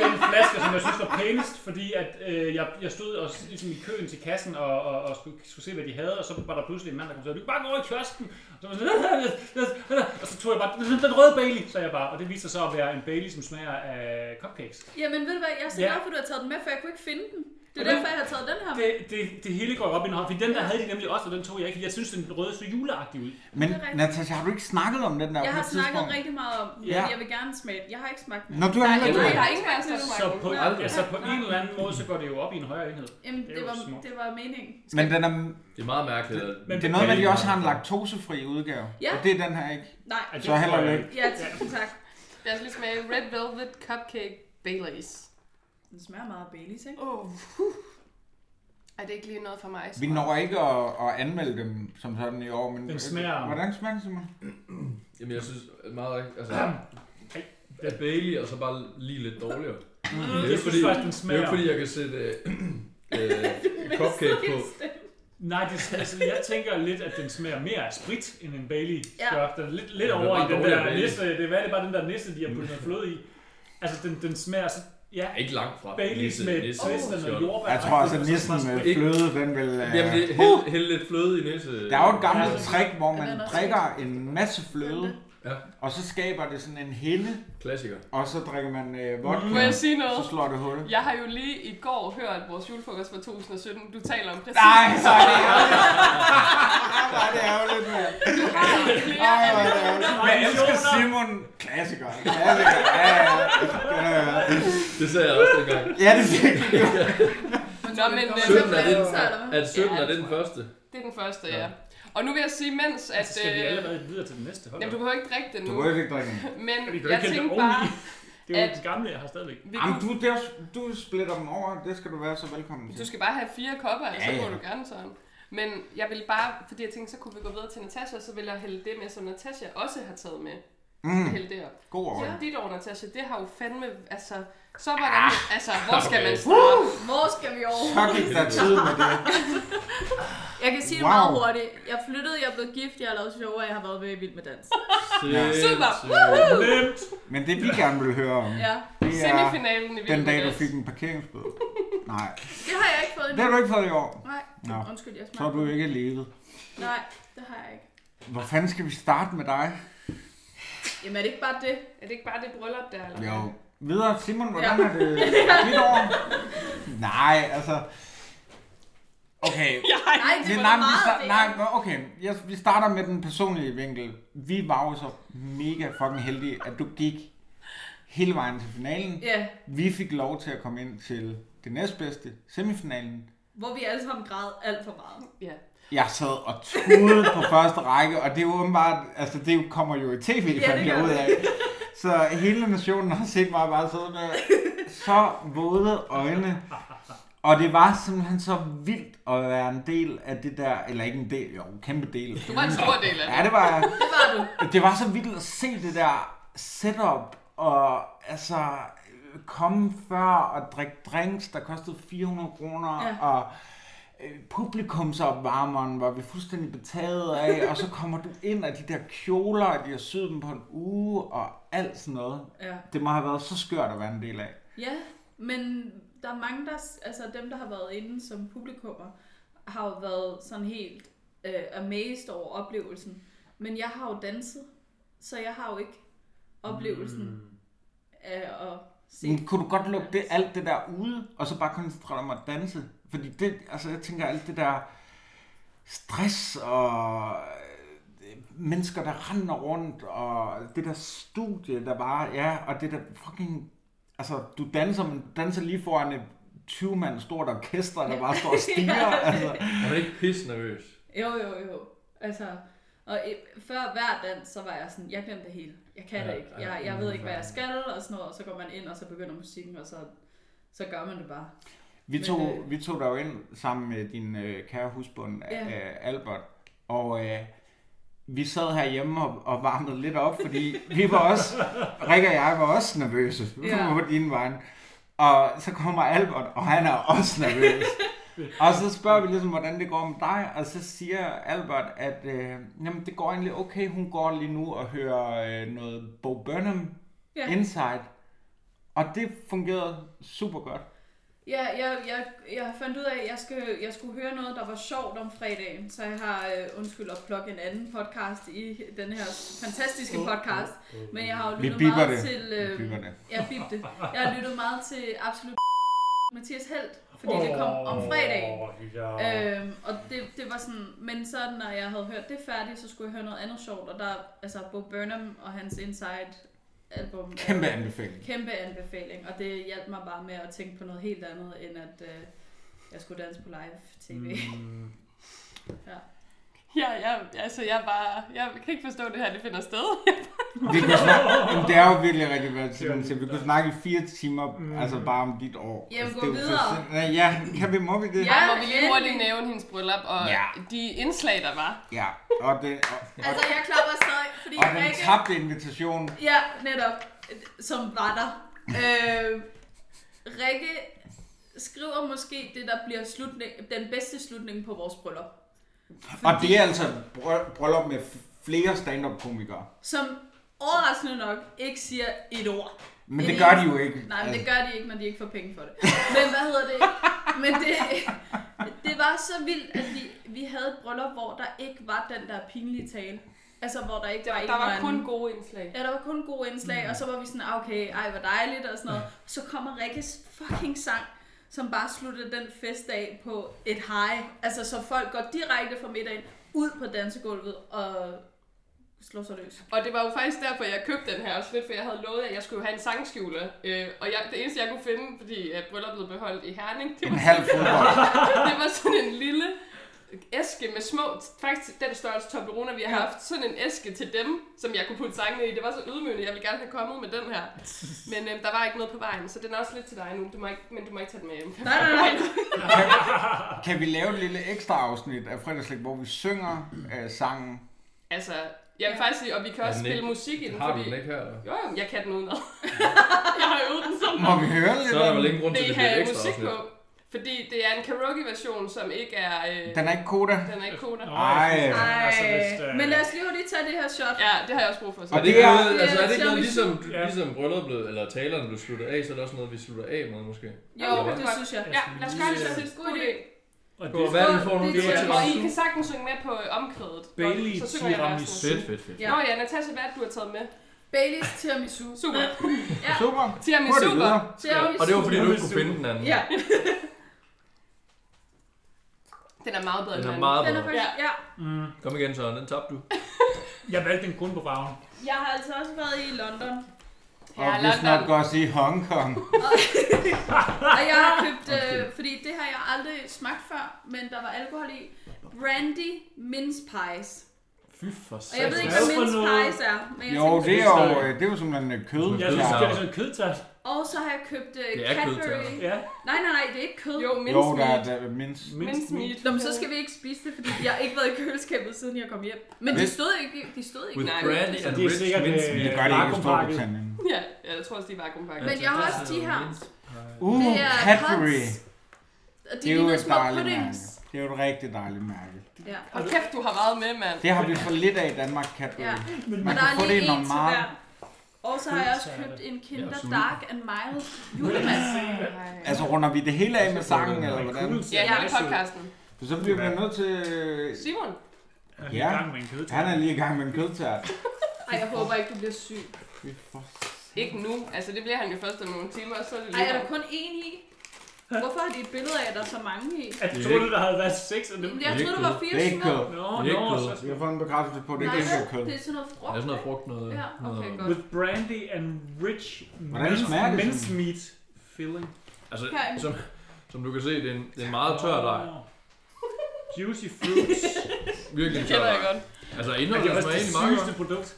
[SPEAKER 6] den flaske, som jeg synes var pænest, fordi at, øh, jeg, jeg stod og, s- ligesom i køen til kassen og, og, og skulle, skulle, se, hvad de havde, og så var der pludselig en mand, der kom og sagde, du kan bare gå over i kiosken. Og så, var jeg sådan, og så tog jeg bare den røde Bailey, sagde jeg bare, og det viste sig så at være en Bailey, som smager af cupcakes.
[SPEAKER 7] Jamen ved du hvad, jeg er så
[SPEAKER 6] Ja.
[SPEAKER 7] glad for, at du har taget den med, for jeg kunne ikke finde den. Det er
[SPEAKER 6] Hvordan-
[SPEAKER 7] derfor, jeg har taget den her med.
[SPEAKER 6] Det, det, det hele går op i en hånd, fordi den der havde de nemlig også, og den tog jeg ikke, fordi jeg synes, den røde så juleagtig ud.
[SPEAKER 5] Men
[SPEAKER 7] Det er rigtigt.
[SPEAKER 5] Natasha, har du ikke snakket om den der
[SPEAKER 7] Jeg
[SPEAKER 5] på
[SPEAKER 7] har
[SPEAKER 5] et
[SPEAKER 7] snakket
[SPEAKER 5] tidspunkt?
[SPEAKER 7] rigtig meget om den,
[SPEAKER 5] Ja.
[SPEAKER 7] ja. jeg vil gerne smage den. Jeg har ikke smagt den.
[SPEAKER 5] Nå, du har heller
[SPEAKER 4] Nej,
[SPEAKER 5] ikke
[SPEAKER 4] der
[SPEAKER 5] gjort
[SPEAKER 4] er
[SPEAKER 5] det.
[SPEAKER 4] ingen af os, der har
[SPEAKER 6] Så
[SPEAKER 4] smagt
[SPEAKER 6] på,
[SPEAKER 4] den.
[SPEAKER 8] Nej.
[SPEAKER 6] altså på en eller anden måde, så går det jo op i en højere enhed.
[SPEAKER 7] Jamen,
[SPEAKER 6] Det er
[SPEAKER 7] det
[SPEAKER 6] jo
[SPEAKER 7] var,
[SPEAKER 6] smukt.
[SPEAKER 7] det var meningen.
[SPEAKER 5] Men den er,
[SPEAKER 8] Det er meget mærkeligt. at-
[SPEAKER 6] Men-
[SPEAKER 5] det er noget med, at de også har en laktosefri udgave.
[SPEAKER 7] Ja.
[SPEAKER 5] Og det er den her ikke.
[SPEAKER 7] Nej.
[SPEAKER 6] Ej, det
[SPEAKER 5] Så held og
[SPEAKER 6] tror jeg
[SPEAKER 5] lykke.
[SPEAKER 6] ikke.
[SPEAKER 7] Ja, tak.
[SPEAKER 4] Jeg skal lige smage Red Velvet Cupcake Baileys.
[SPEAKER 7] Den smager meget af Baileys, ikke?
[SPEAKER 4] Åh, huh. Er det ikke lige noget for mig?
[SPEAKER 5] Vi når ikke at, at anmelde dem som sådan i år, men
[SPEAKER 6] Den smager-
[SPEAKER 5] hvordan smager den, Simon?
[SPEAKER 8] Jamen, jeg synes at meget rigtigt. Altså,
[SPEAKER 6] Ej,
[SPEAKER 8] at Bailey og så bare lige lidt dårligere. Det er jo
[SPEAKER 6] Mm. Jeg
[SPEAKER 8] ikke fordi-
[SPEAKER 6] synes faktisk, den
[SPEAKER 8] Det
[SPEAKER 6] smager.
[SPEAKER 8] er jo ikke, fordi jeg kan sætte øh, øh, cupcake på.
[SPEAKER 6] Nej, det, altså, jeg tænker lidt, at den smager mere af sprit, end en Bailey
[SPEAKER 7] Ja.
[SPEAKER 6] ja. gør. Den er lidt, lidt
[SPEAKER 8] Ja, det er
[SPEAKER 6] over
[SPEAKER 8] bare
[SPEAKER 6] i den
[SPEAKER 8] dårligere
[SPEAKER 6] der
[SPEAKER 8] Bailey.
[SPEAKER 6] nisse. Det er, hvad er det bare den der nisse, de har puttet noget fløde i. Altså, den, den smager så... Ja,
[SPEAKER 8] Ja, Ikke langt fra.
[SPEAKER 6] Baileys
[SPEAKER 8] Nisse-
[SPEAKER 6] med
[SPEAKER 8] nisse-
[SPEAKER 6] twist og
[SPEAKER 8] skjold.
[SPEAKER 6] jordbær.
[SPEAKER 5] Jeg tror altså, at
[SPEAKER 6] Det er
[SPEAKER 5] nissen
[SPEAKER 6] så-
[SPEAKER 5] med
[SPEAKER 8] Ikke-
[SPEAKER 5] fløde, den vil... øh,
[SPEAKER 8] Jamen, det, hæld, hæld lidt fløde i næse.
[SPEAKER 5] Der er jo et gammelt
[SPEAKER 6] Ja.
[SPEAKER 5] trick, hvor man
[SPEAKER 7] Den er også
[SPEAKER 5] drikker en masse fløde,
[SPEAKER 8] Ja.
[SPEAKER 5] og så skaber det sådan en hende,
[SPEAKER 8] Klassiker.
[SPEAKER 5] og så drikker man øh, vodka,
[SPEAKER 4] Må jeg sige
[SPEAKER 5] så
[SPEAKER 4] noget?
[SPEAKER 5] slår det hul.
[SPEAKER 4] Jeg har jo lige i går hørt vores julefrokost fra 2017. Du taler om præcis
[SPEAKER 5] Nej, så er det ærgerligt. Så er det ærgerligt, mand.
[SPEAKER 4] flere
[SPEAKER 5] Ej,
[SPEAKER 4] af
[SPEAKER 5] hvor er det ærgerligt. Men jeg elsker Simon. Klassiker. Klassiker. Ja, ja, ja. ja, ja.
[SPEAKER 8] Det sagde jeg også dengang.
[SPEAKER 5] Ja, det er virkelig.
[SPEAKER 4] Nå, men øh,
[SPEAKER 8] 17 er den,
[SPEAKER 7] den.
[SPEAKER 8] at 17
[SPEAKER 4] Ja,
[SPEAKER 8] er
[SPEAKER 4] det
[SPEAKER 8] den
[SPEAKER 4] tror jeg.
[SPEAKER 8] første.
[SPEAKER 4] det er den første, ja.
[SPEAKER 8] Ja.
[SPEAKER 4] Og nu vil jeg sige, mens at...
[SPEAKER 6] Så skal vi
[SPEAKER 4] øh,
[SPEAKER 6] allerede videre til den næste. Hold da
[SPEAKER 4] Jamen, du
[SPEAKER 6] op.
[SPEAKER 4] behøver ikke drikke det
[SPEAKER 5] Du
[SPEAKER 4] nu.
[SPEAKER 5] må jo ikke drikke den.
[SPEAKER 4] Men
[SPEAKER 6] Vi kan jo
[SPEAKER 4] jeg
[SPEAKER 6] ikke hælde
[SPEAKER 4] tænkte
[SPEAKER 6] det
[SPEAKER 4] bare...
[SPEAKER 6] oveni. Det er jo
[SPEAKER 4] at-
[SPEAKER 6] den gamle, jeg har stadigvæk.
[SPEAKER 4] Vi
[SPEAKER 5] Jamen,
[SPEAKER 4] kunne,
[SPEAKER 5] du, der, du splitter dem over, det skal du være så velkommen til.
[SPEAKER 4] du skal bare have fire kopper, og
[SPEAKER 5] Ja,
[SPEAKER 4] så må
[SPEAKER 5] ja.
[SPEAKER 4] du gerne sådan. Men jeg ville bare, fordi jeg tænkte, så kunne vi gå videre til Natasha, og så ville jeg hælde det med, som Natasha også har taget med.
[SPEAKER 5] Mm,
[SPEAKER 4] Hælde det op.
[SPEAKER 5] god over.
[SPEAKER 4] Ja. Dit år, Natasha, det har jo fandme, altså, så var
[SPEAKER 5] Ah,
[SPEAKER 4] der, altså, hvor skal man
[SPEAKER 8] okay.
[SPEAKER 4] starte?
[SPEAKER 7] Hvor skal vi over?
[SPEAKER 5] Så gik der tid med det.
[SPEAKER 7] Jeg kan sige det
[SPEAKER 5] Wow.
[SPEAKER 7] meget hurtigt. Jeg flyttede, jeg er blevet gift, jeg har lavet show, og jeg har været med i Vild med Dans.
[SPEAKER 4] Super.
[SPEAKER 8] Sindssygt.
[SPEAKER 6] Nemt!
[SPEAKER 5] Men det vi gerne vil høre om,
[SPEAKER 7] Ja,
[SPEAKER 5] det er
[SPEAKER 4] Semifinalen i Vild
[SPEAKER 5] den
[SPEAKER 4] med
[SPEAKER 5] dag, du
[SPEAKER 4] Dans.
[SPEAKER 5] fik en parkeringsbøde. Nej,
[SPEAKER 7] det har jeg ikke fået
[SPEAKER 5] det
[SPEAKER 7] endnu.
[SPEAKER 5] har du ikke fået i år.
[SPEAKER 7] Nej,
[SPEAKER 5] Nå,
[SPEAKER 7] undskyld, jeg
[SPEAKER 5] så har
[SPEAKER 7] smagte.
[SPEAKER 5] du ikke levet.
[SPEAKER 7] Nej, det har jeg ikke.
[SPEAKER 5] Hvor fanden skal vi starte med dig?
[SPEAKER 7] Jamen er det ikke bare det?
[SPEAKER 4] Er det ikke bare det bryllup der, eller?
[SPEAKER 5] Jo.
[SPEAKER 4] hvad?
[SPEAKER 5] Videre, Simon, hvordan er det dit år? Nej, altså... Okay,
[SPEAKER 7] Nej,
[SPEAKER 5] Men
[SPEAKER 7] det var
[SPEAKER 5] nej, men
[SPEAKER 7] da
[SPEAKER 5] vi
[SPEAKER 7] meget
[SPEAKER 5] start,
[SPEAKER 7] det.
[SPEAKER 5] nej, men okay. Jeg, vi starter med den personlige vinkel. Vi var jo så mega fucking heldige, at du gik hele vejen til finalen.
[SPEAKER 7] Ja,
[SPEAKER 5] Vi fik lov til at komme ind til det næstbedste, semifinalen.
[SPEAKER 7] hvor vi alle sammen græd alt for meget.
[SPEAKER 4] Ja.
[SPEAKER 5] Jeg sad og tudede på første række, og det er jo åbenbart, altså det kommer jo i tv,
[SPEAKER 7] Ja,
[SPEAKER 5] ja, fandt
[SPEAKER 7] det gør
[SPEAKER 5] jeg ud
[SPEAKER 7] det.
[SPEAKER 5] af. Så hele nationen har set mig bare sidde med så våde øjne. Og det var simpelthen så vildt at være en del af det der, eller ikke en del, jo, en kæmpe del.
[SPEAKER 4] Du var en stor del af det.
[SPEAKER 5] Ja, det var jeg.
[SPEAKER 7] Det var du.
[SPEAKER 5] Det var så vildt at se det der setup, og altså øh, komme før og drikke drinks, der kostede 400 kroner,
[SPEAKER 7] Ja.
[SPEAKER 5] ja. og øh, publikumsopvarmeren var vi fuldstændig betaget af, og så kommer du ind af de der kjoler, og de har syet dem på en uge, og alt sådan noget.
[SPEAKER 7] Ja.
[SPEAKER 5] Det må have været så skørt at være en del af.
[SPEAKER 7] Ja, men der er mange, der, altså dem, der har været inde som publikummer, har jo været sådan helt øh, amazed over oplevelsen. Men jeg har jo danset, så jeg har jo ikke oplevelsen
[SPEAKER 8] Hmm.
[SPEAKER 7] mm. af at se.
[SPEAKER 5] Men kunne du godt lukke det, alt det der ude, og så bare koncentrere dig om at danse? Fordi det, altså jeg tænker alt det der stress og øh, mennesker, der render rundt, og det der studie, der bare ja, og det der fucking... Altså, du danser, men du danser lige foran et 20 mand stort orkester, der bare står og stiger. altså.
[SPEAKER 8] Er man ikke pisse nervøs?
[SPEAKER 7] Jo, jo, jo. Altså, og i- før hver dans, så var jeg sådan, jeg glemte det hele. Jeg kan
[SPEAKER 8] Ja,
[SPEAKER 7] det ikke.
[SPEAKER 8] ja,
[SPEAKER 7] Jeg, jeg
[SPEAKER 8] ja,
[SPEAKER 7] ved ikke, hvad
[SPEAKER 8] ja.
[SPEAKER 7] jeg skal, og sådan noget. Og så går man ind, og så begynder musikken, og så, så gør man det bare.
[SPEAKER 5] Vi
[SPEAKER 7] Men,
[SPEAKER 5] tog,
[SPEAKER 7] øh,
[SPEAKER 5] vi tog der jo ind sammen med din øh, kære husbund,
[SPEAKER 7] Ja.
[SPEAKER 5] ja. øh, Albert, og øh, vi sad herhjemme og, og varmede lidt op, fordi vi var også, Rikke og jeg var også nervøse
[SPEAKER 7] Ja.
[SPEAKER 5] ja. på din vej. Og så kommer Albert, og han er også nervøs. og så spørger vi ligesom, hvordan det går med dig, og så siger Albert, at øh, jamen, det går egentlig okay, hun går lige nu og hører øh, noget Bo Burnham
[SPEAKER 7] Ja.
[SPEAKER 5] ja. Inside. Og det fungerede super godt.
[SPEAKER 7] Ja, jeg, jeg, jeg fandt ud af, at jeg skulle, jeg skulle høre noget, der var sjovt om fredagen, så jeg har, øh, undskyld at plukke en anden podcast i den her fantastiske podcast, men jeg har jo
[SPEAKER 5] Vi
[SPEAKER 7] lyttet
[SPEAKER 5] bipper
[SPEAKER 7] meget
[SPEAKER 5] det.
[SPEAKER 7] til...
[SPEAKER 5] Vi bipper det.
[SPEAKER 7] Jeg bip det. Jeg har lyttet meget til Absolut Mathias Helt, fordi det kom om fredagen.
[SPEAKER 4] Øh,
[SPEAKER 6] Ja.
[SPEAKER 7] Øhm, og det, det var sådan, men så når jeg havde hørt det færdigt, så skulle jeg høre noget andet sjovt, og der, altså Bo Burnham og hans Inside album.
[SPEAKER 5] Kæmpe anbefaling.
[SPEAKER 7] Kæmpe anbefaling, og det hjalp mig bare med at tænke på noget helt andet, end at øh, jeg skulle danse på live tv.
[SPEAKER 6] Mm.
[SPEAKER 7] ja.
[SPEAKER 4] Ja, jeg, altså, jeg, er bare, jeg kan ikke forstå, at det her det finder sted.
[SPEAKER 5] Vi kunne snakke, Jamen, det er jo virkelig rigtig meget til den til. Vi kunne snakke i fire timer, mm. altså bare om dit år.
[SPEAKER 7] Jamen,
[SPEAKER 5] altså,
[SPEAKER 7] gå
[SPEAKER 5] det er jo
[SPEAKER 7] videre.
[SPEAKER 5] for sind- Ja, kan vi, må vi det?
[SPEAKER 7] Ja,
[SPEAKER 4] Må vi lige hurtigt
[SPEAKER 7] endelig.
[SPEAKER 4] nævne hendes bryllup og
[SPEAKER 5] Ja.
[SPEAKER 4] de indslag, der var.
[SPEAKER 5] ja. Og, det, og, og,
[SPEAKER 7] Altså, jeg klapper stadig, fordi
[SPEAKER 5] og den
[SPEAKER 7] Rikke-
[SPEAKER 5] tabte invitation.
[SPEAKER 7] Ja, netop. Som var der. Øh, Rikke skriver måske det, der bliver slutning, den bedste slutning på vores bryllup.
[SPEAKER 5] Og det er altså bry- bryllup med flere stand-up-komikere.
[SPEAKER 7] Som overraskende nok ikke siger et ord.
[SPEAKER 5] Men
[SPEAKER 7] Det
[SPEAKER 5] det
[SPEAKER 7] er
[SPEAKER 5] gør de
[SPEAKER 7] en-
[SPEAKER 5] jo ikke.
[SPEAKER 7] Nej, men
[SPEAKER 5] Altså,
[SPEAKER 7] det gør de ikke, når de ikke får penge for det. Men hvad hedder det? Men det, det var så vildt, at vi, vi havde et bryllup, hvor der ikke var den der pinlige tale. Altså, hvor der ikke var en
[SPEAKER 4] Der var
[SPEAKER 7] eller anden-
[SPEAKER 4] kun gode indslag.
[SPEAKER 7] Ja, der var kun gode indslag, mm. og så var vi sådan, ah, okay, ej, hvor dejligt, og sådan noget. Så kommer Rikkes fucking sang, som bare slutter den festdag på et high. Altså, så folk går direkte fra middagen ud på dansegulvet og slår sig løs.
[SPEAKER 4] Og det var jo faktisk derfor, jeg købte den her også lidt, for jeg havde lovet, at jeg skulle have en sangskjule. Øh, og jeg, det eneste, jeg kunne finde, fordi øh, brylluppet blev holdt i Herning, det
[SPEAKER 5] Altså, en
[SPEAKER 4] var,
[SPEAKER 5] halv fodbold.
[SPEAKER 4] det var sådan en lille æske med små, faktisk den størrelse Toblerone, vi har haft, sådan en æske til dem, som jeg kunne putte sangene i. Det var så ydmygende, jeg ville gerne have kommet med den her. Men øh, der var ikke noget på vejen, så den er også lidt til dig nu, du må ikke, men du må ikke tage den med hjem.
[SPEAKER 7] Nej, nej, nej.
[SPEAKER 5] Kan vi lave et lille ekstra afsnit af fredagslæg, hvor vi synger øh, sangen?
[SPEAKER 4] Altså, jeg vil faktisk sige, og vi kan også
[SPEAKER 8] den
[SPEAKER 4] spille
[SPEAKER 8] ikke-
[SPEAKER 4] musik i den,
[SPEAKER 8] Har du
[SPEAKER 4] fordi...
[SPEAKER 8] den ikke her?
[SPEAKER 4] Jo, jo, jeg kan den udenad. jeg har øvet den som
[SPEAKER 5] Må vi høre lidt
[SPEAKER 8] Så er der
[SPEAKER 5] af
[SPEAKER 8] vel
[SPEAKER 5] den?
[SPEAKER 8] ingen grund til, at
[SPEAKER 4] det
[SPEAKER 8] det bliver
[SPEAKER 4] her
[SPEAKER 8] et
[SPEAKER 4] er
[SPEAKER 8] ekstra
[SPEAKER 4] musik
[SPEAKER 8] afsnit.
[SPEAKER 4] på. Fordi det er en karaoke-version, som ikke er... Øh,
[SPEAKER 5] Den er ikke koda.
[SPEAKER 4] den er ikke koder.
[SPEAKER 5] Ej.
[SPEAKER 6] Altså, hvis,
[SPEAKER 7] Ej.
[SPEAKER 6] øh,
[SPEAKER 7] Men lad os lige hurtigt tage det her shot.
[SPEAKER 4] Ja, det har jeg også brug for. Så.
[SPEAKER 8] Er det
[SPEAKER 5] det
[SPEAKER 8] ikke
[SPEAKER 5] er-
[SPEAKER 8] noget, altså er det ikke
[SPEAKER 7] det er
[SPEAKER 8] noget, ligesom,
[SPEAKER 6] musik. Ja.
[SPEAKER 8] ligesom brylluppet blev, eller talerne blev sluttet af, så er det også noget, vi slutter af med måske.
[SPEAKER 7] Jo,
[SPEAKER 4] Ja.
[SPEAKER 7] det synes jeg.
[SPEAKER 4] Ja, lad os gøre det til sidst. God idé.
[SPEAKER 6] og
[SPEAKER 8] Gå, hvad
[SPEAKER 6] det,
[SPEAKER 8] er det for nogle
[SPEAKER 7] Det er
[SPEAKER 8] gode
[SPEAKER 7] til
[SPEAKER 8] til
[SPEAKER 4] Og
[SPEAKER 8] os?
[SPEAKER 4] I kan sagtens synge med på øh, omkvædet. Nå,
[SPEAKER 6] Bailey
[SPEAKER 4] så synger jeg resten.
[SPEAKER 6] Tiramisu.
[SPEAKER 8] fedt, fedt.
[SPEAKER 7] Ja.
[SPEAKER 4] Nå ja, Natasha, hvad er det, du har taget med?
[SPEAKER 7] Baileys tiramisu.
[SPEAKER 4] Super.
[SPEAKER 5] Super.
[SPEAKER 4] Tiramisu.
[SPEAKER 5] Hurtigt
[SPEAKER 4] super.
[SPEAKER 5] videre.
[SPEAKER 7] Tiramisu.
[SPEAKER 8] Og det var fordi, du ikke kunne finde den anden.
[SPEAKER 7] Ja,
[SPEAKER 4] Den er meget bedre
[SPEAKER 8] Den
[SPEAKER 4] end
[SPEAKER 8] er meget
[SPEAKER 7] den er
[SPEAKER 8] bedre.
[SPEAKER 7] faktisk... Ja.
[SPEAKER 8] Kom igen, Søren, den tabte du.
[SPEAKER 6] Jeg valgte den kun på farven.
[SPEAKER 7] Jeg har altså også været i London.
[SPEAKER 5] Og
[SPEAKER 4] Ja,
[SPEAKER 5] vi
[SPEAKER 4] London.
[SPEAKER 5] snakker også i Hongkong.
[SPEAKER 7] Og jeg har købt, øh, fordi det har jeg aldrig smagt før, men der var alkohol i, brandy mince pies.
[SPEAKER 8] Fy for
[SPEAKER 7] Og jeg ved ikke,
[SPEAKER 6] Hvad
[SPEAKER 7] hvad
[SPEAKER 6] for
[SPEAKER 7] mince
[SPEAKER 6] noget?
[SPEAKER 7] pies er, men jeg
[SPEAKER 5] Jo,
[SPEAKER 7] tænkte,
[SPEAKER 5] det er jo, øh, det er jo simpelthen øh, kød.
[SPEAKER 6] Jeg
[SPEAKER 8] Ja.
[SPEAKER 6] synes, det er sådan en kødtast.
[SPEAKER 7] og så har jeg købt øh,
[SPEAKER 8] Det er kød,
[SPEAKER 7] Cadbury.
[SPEAKER 8] Tjerno.
[SPEAKER 6] Ja.
[SPEAKER 7] Nej, nej, nej, det er ikke kød.
[SPEAKER 4] Jo,
[SPEAKER 5] Jo,
[SPEAKER 4] mince
[SPEAKER 5] der er,
[SPEAKER 4] meat.
[SPEAKER 5] der er mindst.
[SPEAKER 4] Mince meat.
[SPEAKER 7] Nå, men så skal vi ikke spise det, fordi jeg har ikke været i køleskabet, siden jeg kom hjem. Men de
[SPEAKER 5] Hvis-
[SPEAKER 7] stod ikke, i- de stod ikke.
[SPEAKER 8] With
[SPEAKER 7] i
[SPEAKER 4] Nej,
[SPEAKER 8] brandy
[SPEAKER 7] køledisken.
[SPEAKER 8] and
[SPEAKER 6] det er
[SPEAKER 8] rich
[SPEAKER 6] sikkert,
[SPEAKER 8] mince
[SPEAKER 5] Det
[SPEAKER 6] øh,
[SPEAKER 8] meat.
[SPEAKER 5] gør det ikke i
[SPEAKER 6] Vakuumpakket.
[SPEAKER 5] Storbritannien.
[SPEAKER 4] Ja, ja, jeg tror også, de er vakuumpakket.
[SPEAKER 7] Men jeg har også de her.
[SPEAKER 5] Uh,
[SPEAKER 7] Det er
[SPEAKER 5] Cadbury.
[SPEAKER 7] Pots. Og de
[SPEAKER 5] Det er jo
[SPEAKER 7] ligner
[SPEAKER 5] et
[SPEAKER 7] små
[SPEAKER 5] dejligt mærke.
[SPEAKER 7] puddings.
[SPEAKER 5] Det er jo et rigtig dejligt mærke.
[SPEAKER 7] Ja.
[SPEAKER 4] Hold kæft, du har været med, mand.
[SPEAKER 5] Det har vi for lidt af i Danmark, Cadbury.
[SPEAKER 7] Ja. Og
[SPEAKER 5] Man
[SPEAKER 7] der
[SPEAKER 5] kan få det
[SPEAKER 7] er lige
[SPEAKER 5] i
[SPEAKER 7] en
[SPEAKER 5] nogle
[SPEAKER 7] til
[SPEAKER 5] meget...
[SPEAKER 7] hver. Og så har jeg også købt en Kinder Dark and Mild julemasse.
[SPEAKER 5] Altså, runder vi det hele af med
[SPEAKER 6] Altså,
[SPEAKER 5] sangen, eller hvordan?
[SPEAKER 4] Ja, hele podcasten.
[SPEAKER 5] Så bliver vi nødt til...
[SPEAKER 4] Simon,
[SPEAKER 6] Ja.
[SPEAKER 5] Ja.
[SPEAKER 6] I gang med en kødtast.
[SPEAKER 5] Han er lige i gang med en kødtært.
[SPEAKER 7] Ej, jeg håber ikke, du bliver syg.
[SPEAKER 4] ikke nu. Altså, det bliver han jo først om nogle timer, så er det
[SPEAKER 7] Ej, er
[SPEAKER 4] lige...
[SPEAKER 7] der kun én i? Hvorfor har de et billede af, at der er så mange i?
[SPEAKER 6] Jeg
[SPEAKER 8] Det er
[SPEAKER 6] troede,
[SPEAKER 8] ikke-
[SPEAKER 6] der havde været seks af dem.
[SPEAKER 7] Jamen, Jeg
[SPEAKER 8] er
[SPEAKER 7] troede,
[SPEAKER 8] ikke
[SPEAKER 7] der var
[SPEAKER 5] Det er
[SPEAKER 7] fire
[SPEAKER 5] ikke
[SPEAKER 7] små.
[SPEAKER 5] kød.
[SPEAKER 6] Nå,
[SPEAKER 8] Det er
[SPEAKER 6] nå,
[SPEAKER 8] ikke
[SPEAKER 6] så...
[SPEAKER 8] kød.
[SPEAKER 5] Vi har fået en bekræftelse på, at det
[SPEAKER 7] Nej,
[SPEAKER 5] ikke er kød.
[SPEAKER 7] det er sådan noget frugt.
[SPEAKER 8] Det er sådan noget
[SPEAKER 7] ikke?
[SPEAKER 8] frugt, noget...
[SPEAKER 7] Ja, okay,
[SPEAKER 8] noget-
[SPEAKER 7] godt.
[SPEAKER 6] With brandy and rich
[SPEAKER 5] Hvordan
[SPEAKER 6] mince-
[SPEAKER 5] smager det
[SPEAKER 6] mince
[SPEAKER 5] sådan?
[SPEAKER 6] meat filling.
[SPEAKER 8] Altså,
[SPEAKER 7] Herinde.
[SPEAKER 8] som, som du kan se, det er en, det er en meget tør dej.
[SPEAKER 6] Nå. Juicy fruits.
[SPEAKER 4] Det
[SPEAKER 8] Virkelig en tør
[SPEAKER 4] kender
[SPEAKER 8] dej.
[SPEAKER 4] jeg godt.
[SPEAKER 8] Altså,
[SPEAKER 6] Men det
[SPEAKER 8] indholdet
[SPEAKER 6] er også
[SPEAKER 8] smager
[SPEAKER 6] det
[SPEAKER 8] egentlig meget
[SPEAKER 6] sygeste
[SPEAKER 8] godt.
[SPEAKER 6] produkt.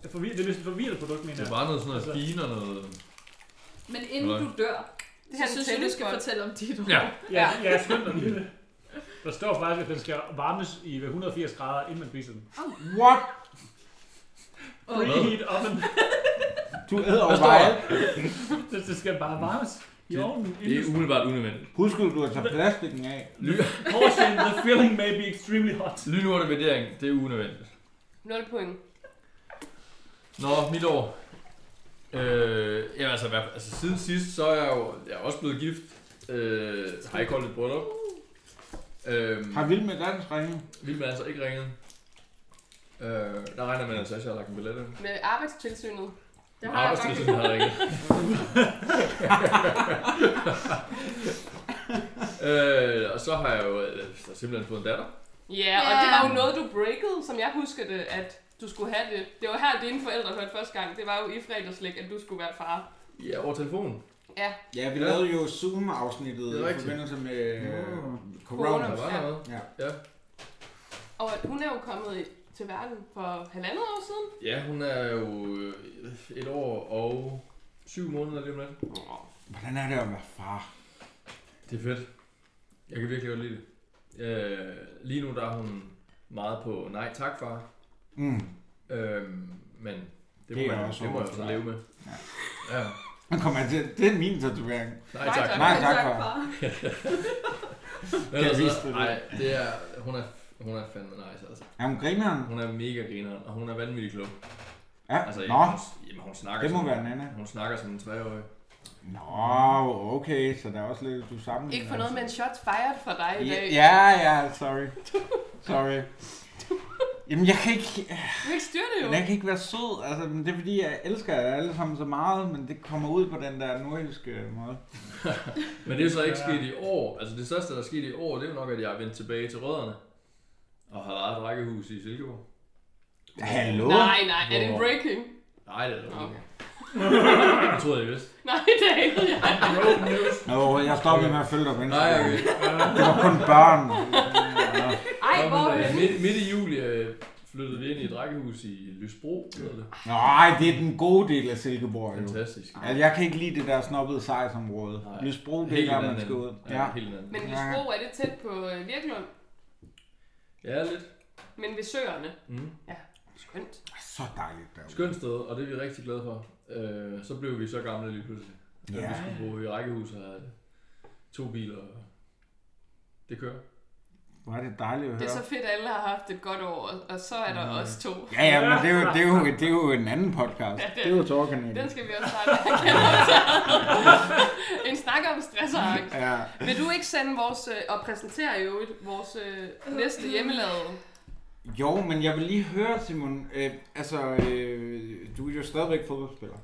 [SPEAKER 6] Det er forvirret- det er næsten et forvirret produkt, mener
[SPEAKER 8] Det er
[SPEAKER 6] jeg.
[SPEAKER 8] bare noget sådan noget
[SPEAKER 6] Altså-
[SPEAKER 8] fine og noget...
[SPEAKER 7] Men inden
[SPEAKER 8] Hvordan?
[SPEAKER 7] du dør,
[SPEAKER 4] Det
[SPEAKER 7] så
[SPEAKER 4] her er en
[SPEAKER 7] synes jeg, du skal
[SPEAKER 4] tennisbold.
[SPEAKER 7] fortælle om dit
[SPEAKER 8] Ja,
[SPEAKER 6] Ja, ja, skynd dig lige det. Der står faktisk, at den skal varmes i ved 180 grader, inden man spiser den.
[SPEAKER 5] What?
[SPEAKER 6] Preheat oven.
[SPEAKER 5] Du æder
[SPEAKER 8] Hvad
[SPEAKER 5] over
[SPEAKER 8] står
[SPEAKER 5] vejret.
[SPEAKER 6] Det det skal bare varmes i
[SPEAKER 8] Det-
[SPEAKER 6] ovnen.
[SPEAKER 8] det er umiddelbart unødvendigt.
[SPEAKER 5] Husk, at du har taget plastikken af.
[SPEAKER 6] Portion, the filling may be extremely hot.
[SPEAKER 8] Lige nu er det vurdering, det er unødvendigt.
[SPEAKER 4] 0 point.
[SPEAKER 8] Nå, mit år. Øh, jamen altså, hvad, altså, siden sidst, så er jeg jo jeg er også blevet gift. Øh, har ikke holdt et bryllup. Øh,
[SPEAKER 5] Har vild med dans ringet?
[SPEAKER 8] Vilma er altså ikke ringet. Øh, der regner man altså, at jeg har lagt en billet ind.
[SPEAKER 4] Med arbejdstilsynet.
[SPEAKER 7] Det har jeg faktisk.
[SPEAKER 8] Arbejdstilsynet har ringet. øh, og så har jeg jo øh, så simpelthen fået en datter.
[SPEAKER 4] Ja, og
[SPEAKER 7] Ja.
[SPEAKER 4] det var jo noget, du breakede, som jeg husker det, at du skulle have det. Det var her, dine forældre hørte første gang. Det var jo i fredagslæg, at du skulle være far.
[SPEAKER 8] Ja, over telefonen.
[SPEAKER 5] Ja, vi
[SPEAKER 8] Ja.
[SPEAKER 5] lavede jo Zoom-afsnittet
[SPEAKER 8] Det er
[SPEAKER 5] i
[SPEAKER 8] rigtigt.
[SPEAKER 5] forbindelse med øh,
[SPEAKER 8] Der
[SPEAKER 5] corona.
[SPEAKER 4] Corona.
[SPEAKER 8] var
[SPEAKER 4] Ja.
[SPEAKER 8] noget.
[SPEAKER 5] Ja.
[SPEAKER 4] Og at hun er jo kommet i- til verden for halvandet år siden.
[SPEAKER 8] Ja, hun er jo øh, et år og syv måneder lige om lidt.
[SPEAKER 4] Åh,
[SPEAKER 5] Hvordan er det at være far?
[SPEAKER 8] Det er fedt. Jeg kan virkelig godt lide det. Øh, lige nu der er hun meget på nej tak far.
[SPEAKER 5] Mm.
[SPEAKER 8] Øh, men det,
[SPEAKER 5] Det
[SPEAKER 8] må
[SPEAKER 5] er
[SPEAKER 8] man,
[SPEAKER 5] også
[SPEAKER 8] det må jeg
[SPEAKER 5] overfor
[SPEAKER 8] også
[SPEAKER 5] dig.
[SPEAKER 8] leve med. Ja. ja.
[SPEAKER 5] Nu kommer jeg til. Det er min tatovering.
[SPEAKER 4] Nej,
[SPEAKER 8] Nej tak.
[SPEAKER 4] tak.
[SPEAKER 5] Nej, tak
[SPEAKER 7] Tak,
[SPEAKER 5] for.
[SPEAKER 7] far.
[SPEAKER 8] Men
[SPEAKER 5] Kan jeg
[SPEAKER 8] altså,
[SPEAKER 5] vise dig det?
[SPEAKER 8] ej, det er, hun er, hun er fandme nice, altså.
[SPEAKER 5] Er hun grineren?
[SPEAKER 8] Hun er mega grineren, og hun er vanvittig klog.
[SPEAKER 5] Ja,
[SPEAKER 8] Altså,
[SPEAKER 5] nå.
[SPEAKER 8] Hun, jamen, hun snakker
[SPEAKER 5] Det må
[SPEAKER 8] som,
[SPEAKER 5] være Nana.
[SPEAKER 8] Hun snakker som en treårig.
[SPEAKER 5] Nå, okay, så der er også lidt, du sammen. altså.
[SPEAKER 4] Ikke for noget, men shots fired fra dig i dag.
[SPEAKER 5] Mm, Ja, ja, sorry. Sorry. Jamen, jeg kan ikke,
[SPEAKER 4] Du kan ikke styre det jo.
[SPEAKER 5] Men Jeg kan ikke være sød, altså, men det er fordi, jeg elsker jer alle sammen så meget, men det kommer ud på den der nordiske måde.
[SPEAKER 8] Men det er jo så ikke sket i år. Altså det største, der er sket i år, det er jo nok, at jeg er vendt tilbage til rødderne. Og har ejet et rækkehus i Silkeborg.
[SPEAKER 5] Hallo?
[SPEAKER 4] Nej, nej, er det en
[SPEAKER 8] Hvor-
[SPEAKER 4] breaking?
[SPEAKER 8] Nej, det er det
[SPEAKER 4] Okay.
[SPEAKER 8] ikke. Jeg troede, I vidste.
[SPEAKER 4] Nej, det er ikke jeg.
[SPEAKER 6] Broken news.
[SPEAKER 5] Nå, jeg stopper med at følge dig på
[SPEAKER 8] Nej,
[SPEAKER 5] Instagram.
[SPEAKER 8] okay.
[SPEAKER 5] Det var kun børn.
[SPEAKER 4] Ej,
[SPEAKER 8] Nå,
[SPEAKER 4] hvor
[SPEAKER 8] men, øh,
[SPEAKER 4] er det?
[SPEAKER 8] midt, midt i juli øh, flyttede vi ind i et rækkehus i Lysbro. hedder det.
[SPEAKER 5] Nej, det er den gode del af Silkeborg, jo.
[SPEAKER 8] Fantastisk.
[SPEAKER 5] Altså, jeg kan ikke lide det der snobbede sejsområde.
[SPEAKER 8] Nej.
[SPEAKER 5] Lysbro, det er der, man
[SPEAKER 8] anden-
[SPEAKER 5] skal ud. Ja.
[SPEAKER 8] Ja, helt en anden.
[SPEAKER 4] Men Lisbro, er det tæt på øh, Virkelund?
[SPEAKER 8] Ja, lidt.
[SPEAKER 4] Men ved søerne?
[SPEAKER 8] Mm.
[SPEAKER 4] Skønt.
[SPEAKER 5] Så dejligt derude.
[SPEAKER 8] Skønt sted, og det er vi rigtig glade for. Øh, så blev vi så gamle lige pludselig. Ja.
[SPEAKER 5] Ja.
[SPEAKER 8] Vi skulle bo i rækkehus og have to biler. og Det kører.
[SPEAKER 5] Hvor er det dejligt at
[SPEAKER 4] Det er så
[SPEAKER 5] høre.
[SPEAKER 4] fedt, at alle har haft et godt år, og så er
[SPEAKER 5] Mm.
[SPEAKER 4] der os to.
[SPEAKER 5] Ja, ja, men det er, jo, det, er jo, det er jo en anden podcast. Det er jo
[SPEAKER 4] Den
[SPEAKER 5] Torkanalen.
[SPEAKER 4] skal vi også starte. Jeg kan også. en snak om stress og angst.
[SPEAKER 5] Ja.
[SPEAKER 4] Vil du ikke sende vores, øh, og præsentere i øvrigt, vores øh, næste hjemmelavede?
[SPEAKER 5] Jo, men jeg vil lige høre, Simon. Øh, altså, øh, du er jo stadigvæk fodboldspiller.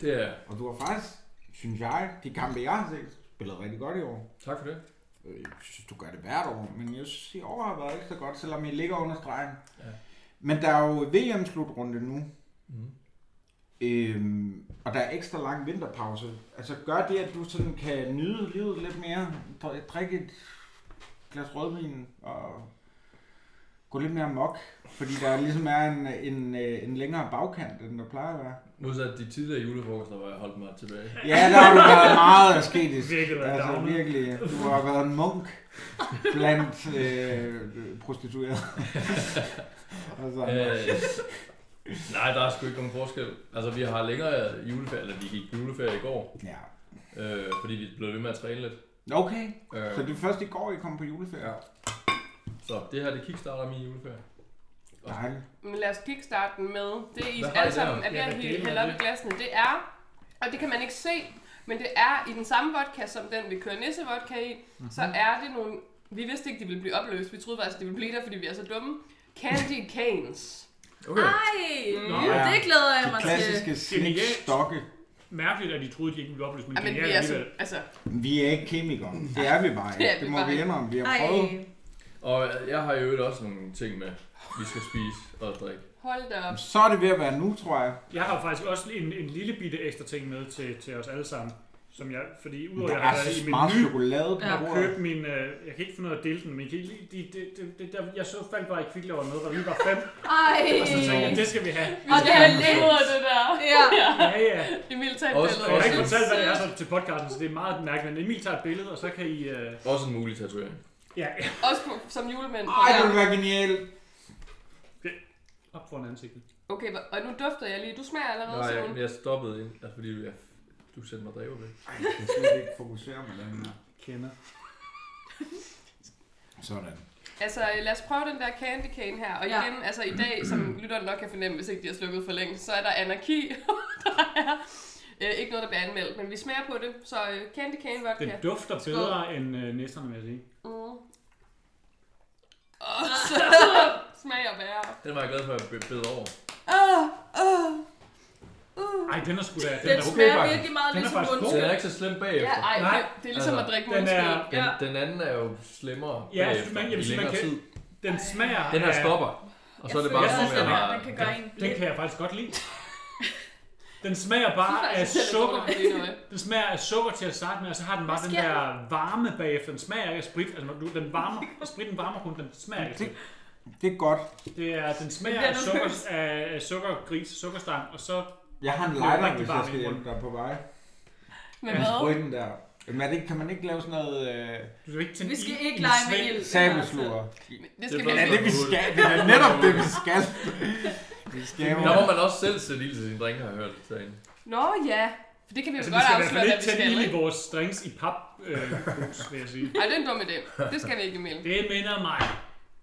[SPEAKER 8] Det er
[SPEAKER 5] Og du har faktisk, synes jeg, de kampe, jeg har set, spillet rigtig godt i år.
[SPEAKER 8] Tak for det.
[SPEAKER 5] Øh, Jeg synes, du gør det hvert år, men jeg synes, i år har været ikke så godt, selvom I ligger under stregen.
[SPEAKER 8] Ja.
[SPEAKER 5] Ja. Men der er jo VM-slutrunde nu,
[SPEAKER 8] Mm.
[SPEAKER 5] øhm, og der er ekstra lang vinterpause. Altså, gør det, at du sådan kan nyde livet lidt mere, Dr- drikke et glas rødvin og gå lidt mere mok, fordi der ligesom er en, en, øh, en længere bagkant, end der plejer at være.
[SPEAKER 8] Modsat de tidligere julefrokoster, hvor jeg holdt mig tilbage.
[SPEAKER 5] Ja, der har du været meget asketisk.
[SPEAKER 6] Virkelig været
[SPEAKER 5] altså,
[SPEAKER 6] downet.
[SPEAKER 5] virkelig. Du har været en munk blandt øh, prostituerede. altså,
[SPEAKER 8] Øh, nej, der er sgu ikke nogen forskel. Altså, vi har længere juleferie, eller vi gik på juleferie i går,
[SPEAKER 5] ja.
[SPEAKER 8] øh, fordi vi blev ved med at træne lidt.
[SPEAKER 5] Okay,
[SPEAKER 8] Øh,
[SPEAKER 5] så det er først i går, I kom på juleferie.
[SPEAKER 8] så det her, det kickstarter min juleferie.
[SPEAKER 5] Dejligt.
[SPEAKER 4] Men lad os kickstarte den med. Det er I
[SPEAKER 8] Hvad har I
[SPEAKER 4] alle sammen
[SPEAKER 8] der?
[SPEAKER 4] er ved
[SPEAKER 6] Ja,
[SPEAKER 4] at
[SPEAKER 6] hvad
[SPEAKER 4] hælde
[SPEAKER 6] delen
[SPEAKER 4] hælde
[SPEAKER 6] er
[SPEAKER 4] op i
[SPEAKER 6] det?
[SPEAKER 4] glassene. Det er, og det kan man ikke se, men det er i den samme vodka, som den vi kører nissevodka i, så er det nogle... Vi vidste ikke, de ville blive opløst. Vi troede faktisk, de ville blive der, fordi vi er så dumme. Candy canes.
[SPEAKER 8] Okay.
[SPEAKER 7] Ej,
[SPEAKER 4] Mm.
[SPEAKER 6] Nå,
[SPEAKER 5] Ja.
[SPEAKER 7] det glæder jeg
[SPEAKER 5] De
[SPEAKER 7] mig til.
[SPEAKER 5] klassiske snitstokke.
[SPEAKER 6] mærkeligt, at de troede, de ikke ville opløse min
[SPEAKER 4] Ja, men
[SPEAKER 6] genial
[SPEAKER 4] vi er så,
[SPEAKER 6] alligevel.
[SPEAKER 4] altså,
[SPEAKER 5] Vi er ikke kemikere. Det er vi bare
[SPEAKER 4] Det er
[SPEAKER 5] ikke. Det
[SPEAKER 4] vi
[SPEAKER 5] må
[SPEAKER 4] bare
[SPEAKER 5] vi
[SPEAKER 4] ikke.
[SPEAKER 5] indrømme. Vi har
[SPEAKER 7] Ej,
[SPEAKER 5] prøvet.
[SPEAKER 8] Og jeg har jo øvrigt også nogle ting med, vi skal spise og drikke.
[SPEAKER 4] hold da op.
[SPEAKER 5] Så er det ved at være nu, tror jeg.
[SPEAKER 6] Jeg har faktisk også en, en lille bitte ekstra ting med til, til os alle sammen. Som jeg, fordi udover
[SPEAKER 5] Der
[SPEAKER 6] jeg har
[SPEAKER 5] er
[SPEAKER 6] været i
[SPEAKER 5] så
[SPEAKER 6] min
[SPEAKER 5] meget
[SPEAKER 6] nye
[SPEAKER 5] chokolade på
[SPEAKER 7] Ja.
[SPEAKER 6] Jeg
[SPEAKER 5] bordet.
[SPEAKER 6] købte min, øh, jeg kan ikke finde ud af at dele den, men jeg, kan ikke, de, de, de, de, der, jeg så faldt bare i kvickler over noget, der lige var fem,
[SPEAKER 7] Ej.
[SPEAKER 6] og så tænkte jeg, det skal vi have.
[SPEAKER 4] Vi
[SPEAKER 7] Og
[SPEAKER 4] skal
[SPEAKER 7] det er
[SPEAKER 4] have
[SPEAKER 7] lidt.
[SPEAKER 4] billeder af det der.
[SPEAKER 7] Ja.
[SPEAKER 6] Ja, ja.
[SPEAKER 4] Emil, tag et
[SPEAKER 8] Også-
[SPEAKER 6] Og jeg har
[SPEAKER 4] billede.
[SPEAKER 6] ikke
[SPEAKER 8] Også-
[SPEAKER 6] fortalt, hvad det er så til podcasten, så det er meget mærkeligt, men Emil tager et billede, og så kan I... Øh,
[SPEAKER 8] Også en mulig tatovering.
[SPEAKER 6] ja, ja,
[SPEAKER 4] Også på, som julemænd.
[SPEAKER 5] Ej, det ville være genialt.
[SPEAKER 6] op foran ansigtet.
[SPEAKER 4] Okay, hva- og nu dufter jeg lige. Du smager allerede,
[SPEAKER 8] Nej, jeg,
[SPEAKER 4] Simon.
[SPEAKER 8] men jeg stoppede ind, altså, fordi jeg, du sendte mig dræber væk.
[SPEAKER 5] Ej, jeg kan slet ikke fokusere med den her.
[SPEAKER 6] Kender.
[SPEAKER 5] Sådan.
[SPEAKER 4] Altså, øh, lad os prøve den der candy cane her. Og
[SPEAKER 7] Ja.
[SPEAKER 4] igen, altså i dag, som lytteren nok kan fornemme, hvis ikke de har slukket for længe, så er der anarki. der er øh, ikke noget, der bliver anmeldt, men vi smager på det. Så øh, candy cane
[SPEAKER 6] Den
[SPEAKER 4] vodka.
[SPEAKER 6] dufter
[SPEAKER 4] Skål.
[SPEAKER 6] bedre end øh, næsterne, vil jeg sige.
[SPEAKER 4] Mm. Og så smager værre.
[SPEAKER 8] Den var jeg glad for, at jeg blev bedre over.
[SPEAKER 4] Åh, åh, uh.
[SPEAKER 6] Ej, den er sgu da... Den,
[SPEAKER 7] Den
[SPEAKER 6] er okay,
[SPEAKER 7] smager
[SPEAKER 6] faktisk.
[SPEAKER 7] virkelig meget
[SPEAKER 6] Den er
[SPEAKER 7] ligesom
[SPEAKER 6] faktisk god.
[SPEAKER 8] Den
[SPEAKER 7] mundskyld.
[SPEAKER 8] er ikke så slem
[SPEAKER 4] Ja,
[SPEAKER 8] bagefter.
[SPEAKER 4] ej,
[SPEAKER 6] Nej.
[SPEAKER 4] det, det er ligesom
[SPEAKER 8] Altså,
[SPEAKER 4] at drikke
[SPEAKER 6] Den
[SPEAKER 4] mundskyld.
[SPEAKER 6] er...
[SPEAKER 8] Den,
[SPEAKER 7] Ja.
[SPEAKER 8] den anden er jo slemmere
[SPEAKER 6] Ja, jeg
[SPEAKER 8] bagefter,
[SPEAKER 6] synes, man- jeg
[SPEAKER 8] i
[SPEAKER 6] synes,
[SPEAKER 8] længere
[SPEAKER 6] man kan-
[SPEAKER 8] tid.
[SPEAKER 6] Den smager...
[SPEAKER 8] Den her
[SPEAKER 6] af-
[SPEAKER 8] stopper, og så er det
[SPEAKER 7] Jeg
[SPEAKER 8] bare
[SPEAKER 7] føler
[SPEAKER 8] som om,
[SPEAKER 7] også,
[SPEAKER 8] jeg
[SPEAKER 7] den her,
[SPEAKER 8] har...
[SPEAKER 7] Den kan gøre en
[SPEAKER 6] Den
[SPEAKER 7] blind.
[SPEAKER 6] kan jeg faktisk godt lide. Den smager
[SPEAKER 4] Det er
[SPEAKER 6] bare af
[SPEAKER 4] faktisk selv et
[SPEAKER 6] sukker.
[SPEAKER 4] ord, det er noget.
[SPEAKER 6] Den smager af sukker til at starte med, og så har den bare
[SPEAKER 4] Hvad
[SPEAKER 6] den
[SPEAKER 4] sker
[SPEAKER 6] der varme bagefter. Den smager ikke af sprit. Altså, når du- den varmer, og spritten varmer kun, den smager ikke af sprit.
[SPEAKER 5] Det er godt.
[SPEAKER 6] Det er, den smager
[SPEAKER 7] Den er
[SPEAKER 6] af sukker,
[SPEAKER 7] nervøs.
[SPEAKER 6] af af sukkergris, sukkerstang, og så...
[SPEAKER 5] Jeg har en
[SPEAKER 6] Det er
[SPEAKER 5] lighter,
[SPEAKER 6] rigtig
[SPEAKER 5] hvis jeg
[SPEAKER 6] varmt
[SPEAKER 5] skal
[SPEAKER 6] i
[SPEAKER 5] hjælpe
[SPEAKER 6] munden.
[SPEAKER 5] dig på vej. Med
[SPEAKER 4] Men hvad?
[SPEAKER 5] sprøjten der. Jamen, er det, ikke- kan man ikke lave sådan noget øh,
[SPEAKER 6] Du skal ikke tænde
[SPEAKER 7] Vi skal
[SPEAKER 6] ild i
[SPEAKER 7] ikke
[SPEAKER 6] en
[SPEAKER 7] lege med
[SPEAKER 6] svend.
[SPEAKER 7] ild.
[SPEAKER 5] sabelslugere?
[SPEAKER 4] Det skal
[SPEAKER 8] Det
[SPEAKER 4] vi
[SPEAKER 8] er
[SPEAKER 5] Ja,
[SPEAKER 4] ikke.
[SPEAKER 5] det vi skal. Det er netop det, vi skal. Vi skal jo.
[SPEAKER 8] Der må man også selv sætte ild til sine drinker, har jeg hørt derinde.
[SPEAKER 4] Nå ja, for det kan vi jo
[SPEAKER 6] Altså,
[SPEAKER 4] godt
[SPEAKER 6] vi skal i hvert
[SPEAKER 4] afsløre,
[SPEAKER 6] fald
[SPEAKER 4] hvad
[SPEAKER 6] ikke
[SPEAKER 4] vi
[SPEAKER 6] tænde
[SPEAKER 4] skal.
[SPEAKER 6] ild i
[SPEAKER 4] ikke?
[SPEAKER 6] vores drinks i pap, øh, krus, vil jeg sige.
[SPEAKER 4] Ej, det er en dum idé. Det skal vi ikke, Emil.
[SPEAKER 6] Det minder mig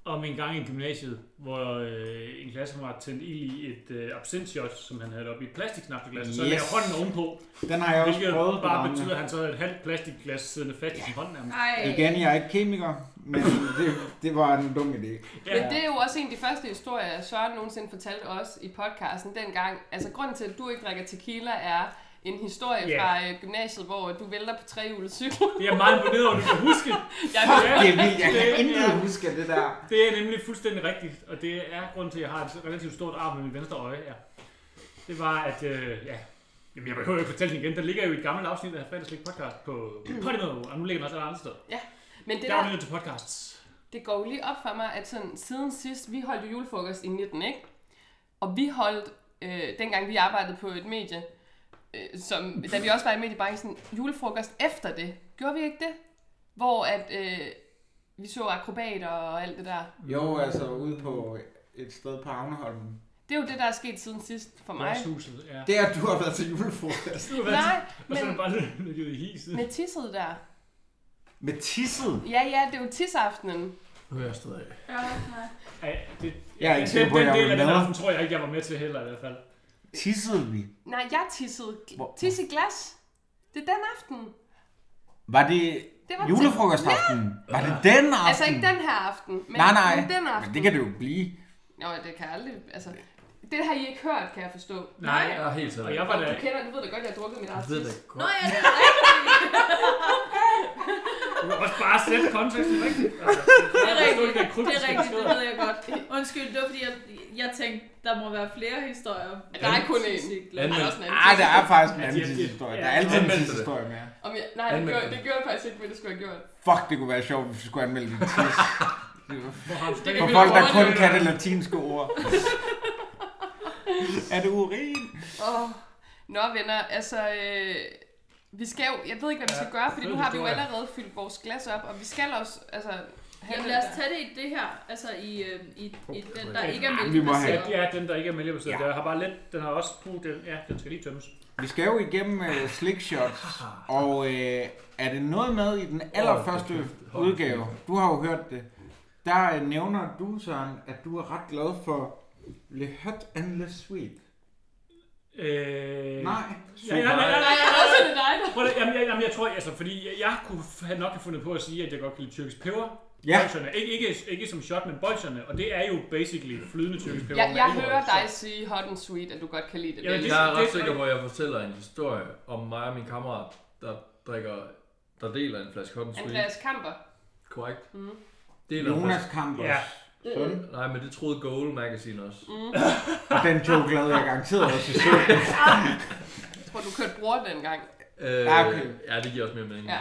[SPEAKER 6] om en gang i gymnasiet, hvor øh, en klassekammerat tændte ild i et øh, absintshot, som han havde oppe i et plastiksnapseglas, og så
[SPEAKER 5] Yes.
[SPEAKER 6] lagde hånden ovenpå,
[SPEAKER 5] Den har jeg også
[SPEAKER 6] hvilket
[SPEAKER 5] prøvet.
[SPEAKER 6] bare
[SPEAKER 5] drengene.
[SPEAKER 6] betyder, at han så havde et halvt plastikglas siddende fat i sin hånd nærmest.
[SPEAKER 7] Ej.
[SPEAKER 5] Igen, jeg er ikke kemiker, men det, det var en dum idé.
[SPEAKER 4] Men det er jo også en af de første historier, Søren nogensinde fortalte os i podcasten dengang. Altså, grunden til, at du ikke drikker tequila, er en historie
[SPEAKER 6] Ja.
[SPEAKER 4] fra øh, gymnasiet, hvor du vælter på trehjulet cykel.
[SPEAKER 6] Det er jeg meget imponeret over, at du kan huske.
[SPEAKER 4] Jeg
[SPEAKER 5] Fuck,
[SPEAKER 6] Ja,
[SPEAKER 5] det er vildt. Jeg kan
[SPEAKER 6] det er-
[SPEAKER 5] intet huske af det der.
[SPEAKER 6] Det er nemlig fuldstændig rigtigt, og det er grunden til, at jeg har et relativt stort arm med mit venstre øje. Ja. Det var, at... Øh, ja. Jamen, jeg behøver ikke fortælle det igen. Der ligger jo et gammelt afsnit af Fredagslik podcast på Podimo, og nu ligger den også alle andre steder.
[SPEAKER 4] Men det
[SPEAKER 6] Der er
[SPEAKER 4] der,
[SPEAKER 6] jo til podcasts.
[SPEAKER 4] det går jo lige op for mig, at sådan, siden sidst, vi holdt jo julefrokost i 19, ikke? Og vi holdt, øh, dengang vi arbejdede på et medie, øh, som, da vi også var i mediebranchen, julefrokost efter det. Gjorde vi ikke det? Hvor at, øh, vi så akrobater og alt det der.
[SPEAKER 5] Jo, altså ude på et sted på Agneholmen.
[SPEAKER 4] Det er jo det, der er sket siden sidst for mig.
[SPEAKER 6] Huset, ja.
[SPEAKER 5] Der, du har været til julefrokost.
[SPEAKER 6] Du har været
[SPEAKER 4] Nej,
[SPEAKER 6] Og så er
[SPEAKER 4] men
[SPEAKER 6] man bare løbet ud i hiset.
[SPEAKER 4] med tisset der.
[SPEAKER 5] Med tisset.
[SPEAKER 4] Ja, ja, det er jo tisseaftenen.
[SPEAKER 8] Nu er jeg stadig af.
[SPEAKER 7] Ja, nej.
[SPEAKER 6] Ej, det,
[SPEAKER 5] Jeg er ikke sikker
[SPEAKER 6] den,
[SPEAKER 5] på, at
[SPEAKER 6] den
[SPEAKER 5] jeg
[SPEAKER 6] del
[SPEAKER 5] var
[SPEAKER 6] af den
[SPEAKER 5] med.
[SPEAKER 6] aften tror jeg ikke, jeg var med til heller i hvert fald.
[SPEAKER 5] Tissede vi?
[SPEAKER 4] Nej, jeg tissede.
[SPEAKER 5] Hvor-
[SPEAKER 4] Tisse glas. Det er den aften.
[SPEAKER 5] Var det
[SPEAKER 4] Det var
[SPEAKER 5] julefrokostaften? Var det den aften?
[SPEAKER 4] Altså ikke den her aften, men,
[SPEAKER 5] nej, nej.
[SPEAKER 4] men den aften.
[SPEAKER 5] Men det kan det jo blive.
[SPEAKER 4] Nå, det kan jeg aldrig... Altså, det har I ikke hørt, kan jeg forstå.
[SPEAKER 6] Nej,
[SPEAKER 8] Jeg er helt sådan.
[SPEAKER 6] og jeg var da...
[SPEAKER 4] Du kender, du ved da godt, jeg har drukket mit
[SPEAKER 8] Jeg
[SPEAKER 4] eget
[SPEAKER 8] ved det
[SPEAKER 4] tis.
[SPEAKER 8] ikke
[SPEAKER 7] Nå
[SPEAKER 8] godt.
[SPEAKER 7] ja, det er rigtigt.
[SPEAKER 6] Du kan også bare sætte konteksten rigtigt. Altså,
[SPEAKER 7] Det er rigtigt,
[SPEAKER 6] Det er
[SPEAKER 7] det
[SPEAKER 6] kryptisk.
[SPEAKER 7] er rigtigt, det ved jeg godt. Undskyld, det var fordi, jeg, jeg tænkte, der må være flere historier.
[SPEAKER 4] Der er kun én.
[SPEAKER 7] Cykler.
[SPEAKER 4] Ej, der er
[SPEAKER 8] Anmeld,
[SPEAKER 4] også en
[SPEAKER 5] Ej,
[SPEAKER 4] anden
[SPEAKER 5] der
[SPEAKER 4] tisse.
[SPEAKER 5] Ah, er faktisk en
[SPEAKER 6] Ja,
[SPEAKER 5] anden
[SPEAKER 6] de- de-
[SPEAKER 5] tidshistorie.
[SPEAKER 6] ja.
[SPEAKER 5] Der er altid en
[SPEAKER 8] Anmeldte det.
[SPEAKER 5] tidshistorie med.
[SPEAKER 4] Om jeg, nej, det
[SPEAKER 8] Anmeld
[SPEAKER 4] gjorde,
[SPEAKER 8] den.
[SPEAKER 4] det gjorde jeg faktisk ikke, men det skulle jeg have gjort.
[SPEAKER 5] Fuck, det kunne være sjovt, hvis vi skulle anmelde en tis.
[SPEAKER 6] Hvor har du-
[SPEAKER 5] For folk, der kun kan det latinske ord. er det urin?
[SPEAKER 4] Oh. Nå, venner, altså... Øh, vi skal jo, jeg ved ikke, hvad vi skal
[SPEAKER 6] Ja,
[SPEAKER 4] gøre, fordi nu
[SPEAKER 6] fed
[SPEAKER 4] har vi jo
[SPEAKER 6] historie.
[SPEAKER 4] allerede fyldt vores glas op, og vi skal også, altså... have
[SPEAKER 7] Jamen
[SPEAKER 4] den
[SPEAKER 7] lad os
[SPEAKER 4] der.
[SPEAKER 7] tage det i det her, altså i, øh, i, i den, der ikke er
[SPEAKER 5] Vi må have-
[SPEAKER 6] Ja,
[SPEAKER 7] mælkebaseret.
[SPEAKER 6] det er den, der ikke er mælkebaseret.
[SPEAKER 5] Ja.
[SPEAKER 6] Den har bare lidt... Den har også... Puh, den, ja, den skal lige tømmes.
[SPEAKER 5] Vi skal jo igennem uh, slickshots, og øh, er det noget med i den allerførste udgave, du har jo hørt det, der øh, nævner du, Søren, at du er ret glad for Le Hot and Le Sweet.
[SPEAKER 6] Øh...
[SPEAKER 5] Nej.
[SPEAKER 6] Ja, ja, ja, ja,
[SPEAKER 4] Nej, jeg er også det dig, der...
[SPEAKER 6] Prøv det, jamen, jeg, jamen, jeg tror, altså, fordi jeg, jeg kunne f- have nok have fundet på at sige, at jeg godt kan lide tyrkisk peber,
[SPEAKER 5] Ja.
[SPEAKER 6] Bolsjerne. Ikke, ikke, ikke som shot, men bolsjerne. Og det er jo basically flydende tyrkisk peber.
[SPEAKER 4] Jeg, jeg hører dig sige hot and sweet, at du godt kan lide det.
[SPEAKER 6] Ja, men
[SPEAKER 4] Dennis.
[SPEAKER 6] det-
[SPEAKER 8] Jeg er ret sikker på, at jeg fortæller en historie om mig og min kammerat, der drikker, der deler en flaske hot and sweet.
[SPEAKER 4] Andreas Kamper.
[SPEAKER 8] Korrekt.
[SPEAKER 4] Mhm.
[SPEAKER 8] Deler en
[SPEAKER 5] Jonas
[SPEAKER 8] flaske.
[SPEAKER 5] Kampers.
[SPEAKER 6] Ja.
[SPEAKER 5] Ja. Søn.
[SPEAKER 8] Nej, men det troede Goal Magazine også.
[SPEAKER 5] Og den joke lavede jeg garanteret også i søvn.
[SPEAKER 4] Jeg tror, du kørte bror dengang.
[SPEAKER 8] Øh,
[SPEAKER 5] Ja, okay.
[SPEAKER 8] Ja, det giver også mere mening.
[SPEAKER 4] Ja.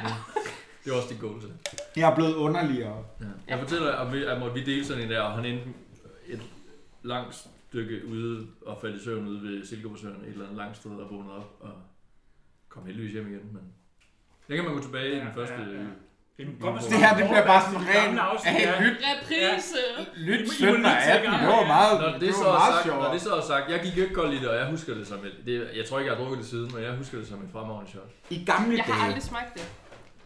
[SPEAKER 8] Det var også det goal til.
[SPEAKER 5] Jeg er blevet underligere.
[SPEAKER 8] Ja. Jeg fortæller, at vi, at måtte vi delte sådan en der, og han endte et langt stykke ude og faldt i søvn ude ved Silkeborgsøen, et eller andet langt sted og vågnede op og kom heldigvis hjem igen. Men det kan man gå tilbage i
[SPEAKER 6] Ja,
[SPEAKER 8] den første
[SPEAKER 6] ja,
[SPEAKER 8] øh,
[SPEAKER 6] ja.
[SPEAKER 8] uge.
[SPEAKER 5] Det her, det bliver bare sådan ren. Hey,
[SPEAKER 6] ren.
[SPEAKER 5] lyt,
[SPEAKER 4] Reprise!
[SPEAKER 6] I må-
[SPEAKER 5] lyt
[SPEAKER 6] I må
[SPEAKER 5] søndag
[SPEAKER 6] lytte til
[SPEAKER 5] 18.
[SPEAKER 6] det,
[SPEAKER 5] Det var meget,
[SPEAKER 8] Når
[SPEAKER 5] det
[SPEAKER 8] det, så
[SPEAKER 5] var
[SPEAKER 8] er
[SPEAKER 5] meget
[SPEAKER 8] sagt, når det
[SPEAKER 5] sjovt.
[SPEAKER 8] så er sagt, jeg gik ikke godt lide det, og jeg husker det som et, det, jeg tror ikke, jeg har drukket det siden, men jeg husker det som et fremragende shot.
[SPEAKER 5] I gamle
[SPEAKER 4] Jeg har
[SPEAKER 5] dage,
[SPEAKER 4] aldrig smagt det.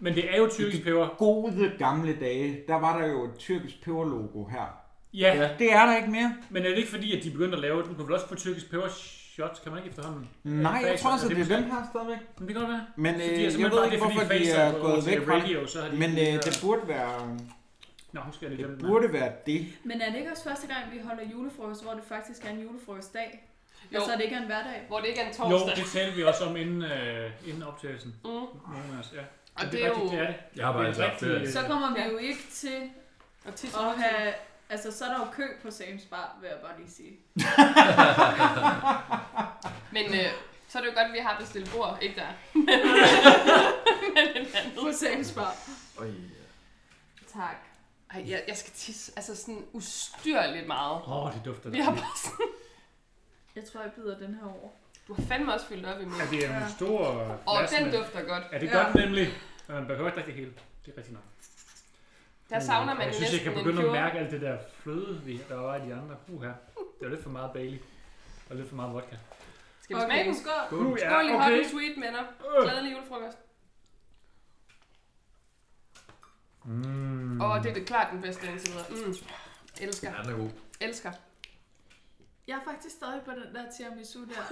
[SPEAKER 6] Men det er jo tyrkisk peber.
[SPEAKER 5] gode gamle dage, der var der jo et tyrkisk peberlogo her.
[SPEAKER 6] Ja,
[SPEAKER 8] Ja.
[SPEAKER 5] Det er der ikke mere.
[SPEAKER 6] men er det ikke fordi, at de begyndte at lave... Du kan vel også få tyrkisk peber shots, kan man ikke efterhånden?
[SPEAKER 5] Nej, jeg tror også, at det er
[SPEAKER 6] dem.
[SPEAKER 5] dem her stadigvæk.
[SPEAKER 6] Men det kan godt være.
[SPEAKER 5] Men
[SPEAKER 6] Fordi
[SPEAKER 5] øh,
[SPEAKER 6] jeg
[SPEAKER 5] jeg,
[SPEAKER 6] simpelthen
[SPEAKER 5] ved
[SPEAKER 6] bare-
[SPEAKER 5] ikke,
[SPEAKER 6] det
[SPEAKER 5] hvorfor de
[SPEAKER 6] altså. er fordi Facer er
[SPEAKER 5] er
[SPEAKER 6] gået
[SPEAKER 5] gået
[SPEAKER 6] til
[SPEAKER 5] væk fra det.
[SPEAKER 6] radio, så har de
[SPEAKER 5] Men
[SPEAKER 6] ikke
[SPEAKER 5] øh,
[SPEAKER 6] lige
[SPEAKER 5] det burde være,
[SPEAKER 6] Nå, husk jeg lige
[SPEAKER 5] det
[SPEAKER 6] dem.
[SPEAKER 5] burde være det.
[SPEAKER 7] Men er det ikke også første gang, vi holder julefrokost, hvor det faktisk er en julefrokostdag?
[SPEAKER 4] Jo.
[SPEAKER 7] Jo. Altså, er det ikke er en hverdag?
[SPEAKER 4] Hvor det ikke er en
[SPEAKER 6] Jo,
[SPEAKER 4] torsdag.
[SPEAKER 6] det talte vi også om inden, øh, inden optagelsen.
[SPEAKER 4] Mm.
[SPEAKER 6] Nogle af os, ja.
[SPEAKER 4] Og
[SPEAKER 6] Men
[SPEAKER 4] det er
[SPEAKER 6] rigtigt,
[SPEAKER 4] jo...
[SPEAKER 6] det er det.
[SPEAKER 8] Jeg har bare
[SPEAKER 6] Det er
[SPEAKER 8] altid haft
[SPEAKER 6] rigtig-
[SPEAKER 8] ferie.
[SPEAKER 7] Så kommer vi
[SPEAKER 4] Ja.
[SPEAKER 7] jo ikke til
[SPEAKER 4] Og tisse.
[SPEAKER 7] at have... Altså, så er der jo kø på Sam's Bar, vil jeg bare lige sige.
[SPEAKER 4] Men øh, så er det jo godt, at vi har bestilt bord. Ikke der. Men en
[SPEAKER 7] På
[SPEAKER 4] anden.
[SPEAKER 7] Sam's Bar.
[SPEAKER 8] Øj,
[SPEAKER 4] Tak. Ej, jeg, jeg skal tisse altså sådan ustyrligt meget.
[SPEAKER 6] Åh, oh, det dufter
[SPEAKER 4] Vi har bare sådan...
[SPEAKER 7] Jeg tror, jeg bider den her over.
[SPEAKER 4] Du har fandme også fyldt op i mig.
[SPEAKER 6] Ja, det er en stor
[SPEAKER 4] Og
[SPEAKER 6] glas
[SPEAKER 4] den
[SPEAKER 6] med-
[SPEAKER 4] dufter godt.
[SPEAKER 6] Ja, det
[SPEAKER 7] Ja.
[SPEAKER 6] gør den nemlig. Men man behøver ikke rigtig hele. Det er rigtig nok.
[SPEAKER 4] Der savner man
[SPEAKER 6] Mm. øh, jeg
[SPEAKER 4] jo
[SPEAKER 6] synes, jeg
[SPEAKER 4] næsten
[SPEAKER 6] kan
[SPEAKER 4] en
[SPEAKER 6] begynde at
[SPEAKER 4] cure.
[SPEAKER 6] mærke alt det der fløde, vi, der var i de andre. Uh, her. Det er lidt for meget Bailey. Og lidt for meget vodka.
[SPEAKER 4] Skal vi smage den?
[SPEAKER 7] skål.
[SPEAKER 8] Skål.
[SPEAKER 6] Ja,
[SPEAKER 4] Skål i hot
[SPEAKER 6] okay. Øh.
[SPEAKER 4] and sweet, venner. Glædelig julefrokost.
[SPEAKER 6] Mm.
[SPEAKER 4] Åh, det er det klart den bedste indtil videre. Mm. Elsker.
[SPEAKER 8] ja, den er god.
[SPEAKER 4] Elsker.
[SPEAKER 7] Jeg er faktisk stadig på den der tiramisu der.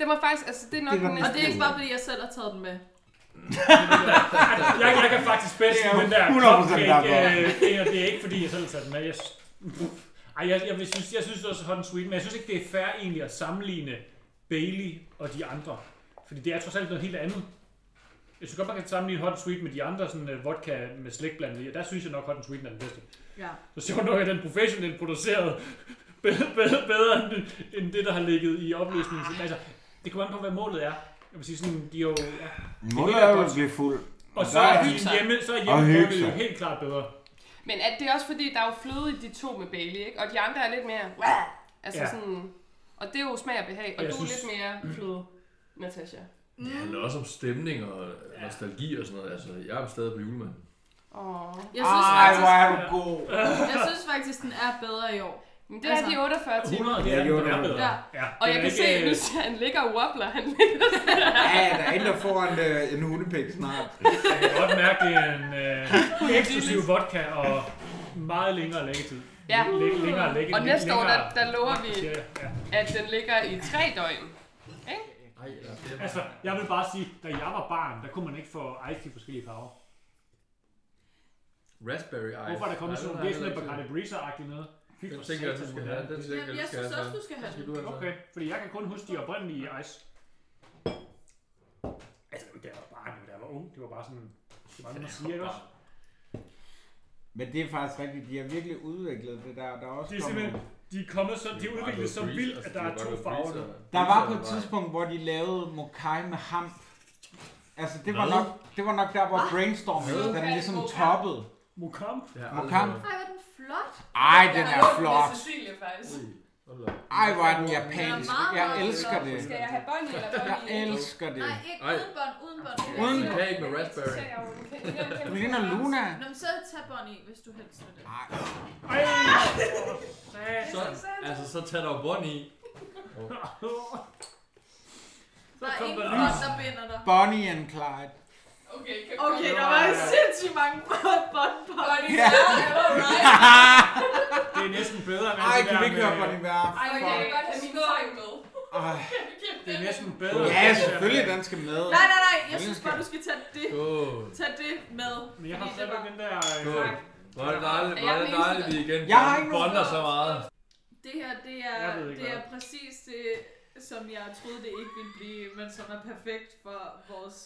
[SPEAKER 4] Det var faktisk, altså det er nok
[SPEAKER 5] Det var
[SPEAKER 4] den
[SPEAKER 5] den
[SPEAKER 7] Og
[SPEAKER 4] næste.
[SPEAKER 7] det er ikke bare, fordi jeg selv har taget den med.
[SPEAKER 6] jeg, jeg kan faktisk bedst
[SPEAKER 5] Det er
[SPEAKER 6] lide
[SPEAKER 5] jo
[SPEAKER 6] den der
[SPEAKER 5] 100%
[SPEAKER 6] cupcake.
[SPEAKER 5] derfor.
[SPEAKER 6] Øh, det, er, det er ikke fordi, jeg selv har taget den med. Jeg, s- ej, jeg, jeg, vil synes, jeg synes også hot and sweet, men jeg synes ikke, det er fair egentlig at sammenligne Bailey og de andre. Fordi det er trods alt noget helt andet. Jeg synes godt, man kan sammenligne hot and sweet med de andre sådan, øh, vodka med slik blandet i, og der synes jeg nok, hot and sweet er den bedste.
[SPEAKER 7] Ja.
[SPEAKER 6] Så sjovt nok er den professionelt produceret bedre, bedre, bedre end, end det, der har ligget i opløsningen. Altså, det kommer an på, hvad målet er. Jeg vil sige sådan, de er jo... Ja.
[SPEAKER 5] Målet
[SPEAKER 6] Det er
[SPEAKER 5] er jo
[SPEAKER 6] godt.
[SPEAKER 5] at blive fuld.
[SPEAKER 6] Og så
[SPEAKER 5] der
[SPEAKER 6] er
[SPEAKER 5] er
[SPEAKER 6] de
[SPEAKER 4] hygge sig.
[SPEAKER 6] hjemme, så er
[SPEAKER 5] Og
[SPEAKER 6] hjemme
[SPEAKER 5] hygge
[SPEAKER 6] det jo
[SPEAKER 5] sig.
[SPEAKER 6] helt klart bedre.
[SPEAKER 4] Men at det er også fordi, der er jo fløde i de to med Bailey, ikke? Og de andre er lidt mere... "Wah!" Altså
[SPEAKER 6] Ja.
[SPEAKER 4] sådan... Og det er jo smag og behag, og
[SPEAKER 6] Jeg
[SPEAKER 4] du er
[SPEAKER 6] synes-
[SPEAKER 4] lidt mere fløde, Natasha.
[SPEAKER 8] Det handler også om stemning og nostalgi og sådan noget. Altså, jeg er stadig på julemanden.
[SPEAKER 4] Åh.
[SPEAKER 7] Jeg synes,
[SPEAKER 5] Ej,
[SPEAKER 7] faktisk,
[SPEAKER 5] hvor er du god.
[SPEAKER 7] jeg synes faktisk, den er bedre i år.
[SPEAKER 4] Men det er
[SPEAKER 7] Altså-
[SPEAKER 4] de 48 timer.
[SPEAKER 6] 100, det
[SPEAKER 5] Ja,
[SPEAKER 6] er,
[SPEAKER 5] jo,
[SPEAKER 6] det er
[SPEAKER 5] jo.
[SPEAKER 6] bedre.
[SPEAKER 7] Ja.
[SPEAKER 6] Ja,
[SPEAKER 4] Og
[SPEAKER 6] det
[SPEAKER 4] jeg
[SPEAKER 6] er
[SPEAKER 4] kan se,
[SPEAKER 6] ikke,
[SPEAKER 4] at nu
[SPEAKER 6] øh,
[SPEAKER 4] ser han ligger og wobbler. Han ligger
[SPEAKER 5] Ja, der er en, der får en, øh, en hundepik snart.
[SPEAKER 6] Jeg kan godt mærke, det er en øh, eksklusiv vodka og meget længere læggetid.
[SPEAKER 4] Ja.
[SPEAKER 6] Læ- længere lægge,
[SPEAKER 4] Og næste år, der,
[SPEAKER 6] længere-
[SPEAKER 4] der lover vi,
[SPEAKER 6] Ja, ja.
[SPEAKER 4] at den ligger i tre døgn.
[SPEAKER 8] Nej, der er flere.
[SPEAKER 6] Altså, jeg vil bare sige, da jeg var barn, der kunne man ikke få ice i forskellige farver.
[SPEAKER 8] Raspberry ice.
[SPEAKER 6] Hvorfor er der kommet
[SPEAKER 8] Nej,
[SPEAKER 6] sådan
[SPEAKER 8] den
[SPEAKER 6] noget? Det er sådan
[SPEAKER 8] har
[SPEAKER 6] noget
[SPEAKER 8] jeg heller
[SPEAKER 6] Bacardi
[SPEAKER 8] ikke
[SPEAKER 6] Breezer-agtigt noget. Fy
[SPEAKER 8] set. Den
[SPEAKER 6] for
[SPEAKER 8] tænker jeg, du
[SPEAKER 6] satan,
[SPEAKER 8] skal
[SPEAKER 6] hvor
[SPEAKER 8] have.
[SPEAKER 6] er
[SPEAKER 8] Den
[SPEAKER 6] det-
[SPEAKER 8] tænker jeg,
[SPEAKER 7] Jamen,
[SPEAKER 8] du
[SPEAKER 7] jeg
[SPEAKER 8] skal
[SPEAKER 7] synes
[SPEAKER 8] have.
[SPEAKER 7] også, du skal have
[SPEAKER 8] Skal
[SPEAKER 7] den.
[SPEAKER 8] du altså?
[SPEAKER 6] Okay, fordi jeg kan kun huske de oprindelige ice. Altså, da jeg var barn, da jeg var ung, det var bare sådan... Det var noget, man siger, ikke også?
[SPEAKER 5] Men det er faktisk rigtigt. De har virkelig udviklet det der. Der er også
[SPEAKER 6] De er
[SPEAKER 5] kommet...
[SPEAKER 6] simpelthen, de er kommet så, de er udviklet så vildt,
[SPEAKER 8] Altså,
[SPEAKER 6] at der er to farver nu.
[SPEAKER 5] Der var på et tidspunkt, hvor de lavede mokai med ham. Altså, det var,
[SPEAKER 8] Hvad?
[SPEAKER 5] nok, det var nok der, hvor brainstorming, den ligesom toppede.
[SPEAKER 6] Mukamp.
[SPEAKER 5] Mokam.
[SPEAKER 7] Ej, hvor er den flot.
[SPEAKER 5] Ej, den
[SPEAKER 4] Jeg
[SPEAKER 5] er
[SPEAKER 4] har lånt den
[SPEAKER 5] flot.
[SPEAKER 4] til Cecilie, faktisk.
[SPEAKER 5] Ej, hvor er den
[SPEAKER 7] Den er
[SPEAKER 5] japansk.
[SPEAKER 7] meget, meget
[SPEAKER 5] Jeg elsker
[SPEAKER 7] flot.
[SPEAKER 5] det.
[SPEAKER 4] Skal jeg have bånd eller bånd
[SPEAKER 5] Jeg
[SPEAKER 4] i?
[SPEAKER 5] elsker det.
[SPEAKER 7] Nej, ikke
[SPEAKER 8] Ej.
[SPEAKER 7] uden bånd, uden bånd.
[SPEAKER 8] Uden
[SPEAKER 7] Uden
[SPEAKER 8] kage med raspberry.
[SPEAKER 5] Du ligner Luna.
[SPEAKER 7] Nå, men så tag bånd i, hvis du helst vil det.
[SPEAKER 5] Ej,
[SPEAKER 6] Ej!
[SPEAKER 8] Så, altså, så tag dig bånd i.
[SPEAKER 7] Der er
[SPEAKER 6] kom
[SPEAKER 7] ingen
[SPEAKER 6] der
[SPEAKER 7] bånd, der binder dig.
[SPEAKER 5] Bonnie and Clyde.
[SPEAKER 4] Okay, kan
[SPEAKER 7] Okay, der var sindssygt mange bånd, bånd, bånd.
[SPEAKER 5] Ja.
[SPEAKER 6] Det er næsten bedre end alt
[SPEAKER 5] Ej,
[SPEAKER 6] det
[SPEAKER 5] kan
[SPEAKER 6] der
[SPEAKER 5] vi ikke høre
[SPEAKER 6] med-
[SPEAKER 5] Bonnie Ware?
[SPEAKER 4] Ej, jeg kan godt have min sang med.
[SPEAKER 5] Ej.
[SPEAKER 6] Det er næsten bedre. end
[SPEAKER 5] Ja,
[SPEAKER 6] alt det der
[SPEAKER 5] selvfølgelig,
[SPEAKER 6] med-
[SPEAKER 5] den skal med.
[SPEAKER 7] Nej, nej, nej. Jeg synes bare, du skal tage det,
[SPEAKER 8] Skål.
[SPEAKER 7] tage det med.
[SPEAKER 6] Men jeg har
[SPEAKER 7] Fordi det
[SPEAKER 6] stadigvæk
[SPEAKER 7] var-
[SPEAKER 6] den der... øh,
[SPEAKER 8] Skål. Hvor er det dejligt, hvor er det
[SPEAKER 7] Jeg er den
[SPEAKER 8] dejligt, vi igen
[SPEAKER 5] Jeg har ikke nogen
[SPEAKER 8] bonder så
[SPEAKER 7] spørgsmål.
[SPEAKER 8] meget.
[SPEAKER 7] Det her, det
[SPEAKER 6] Jeg
[SPEAKER 7] er,
[SPEAKER 6] ved ikke,
[SPEAKER 7] det
[SPEAKER 6] hvad.
[SPEAKER 7] er præcis det, som jeg troede, det ikke ville blive, men som er perfekt for vores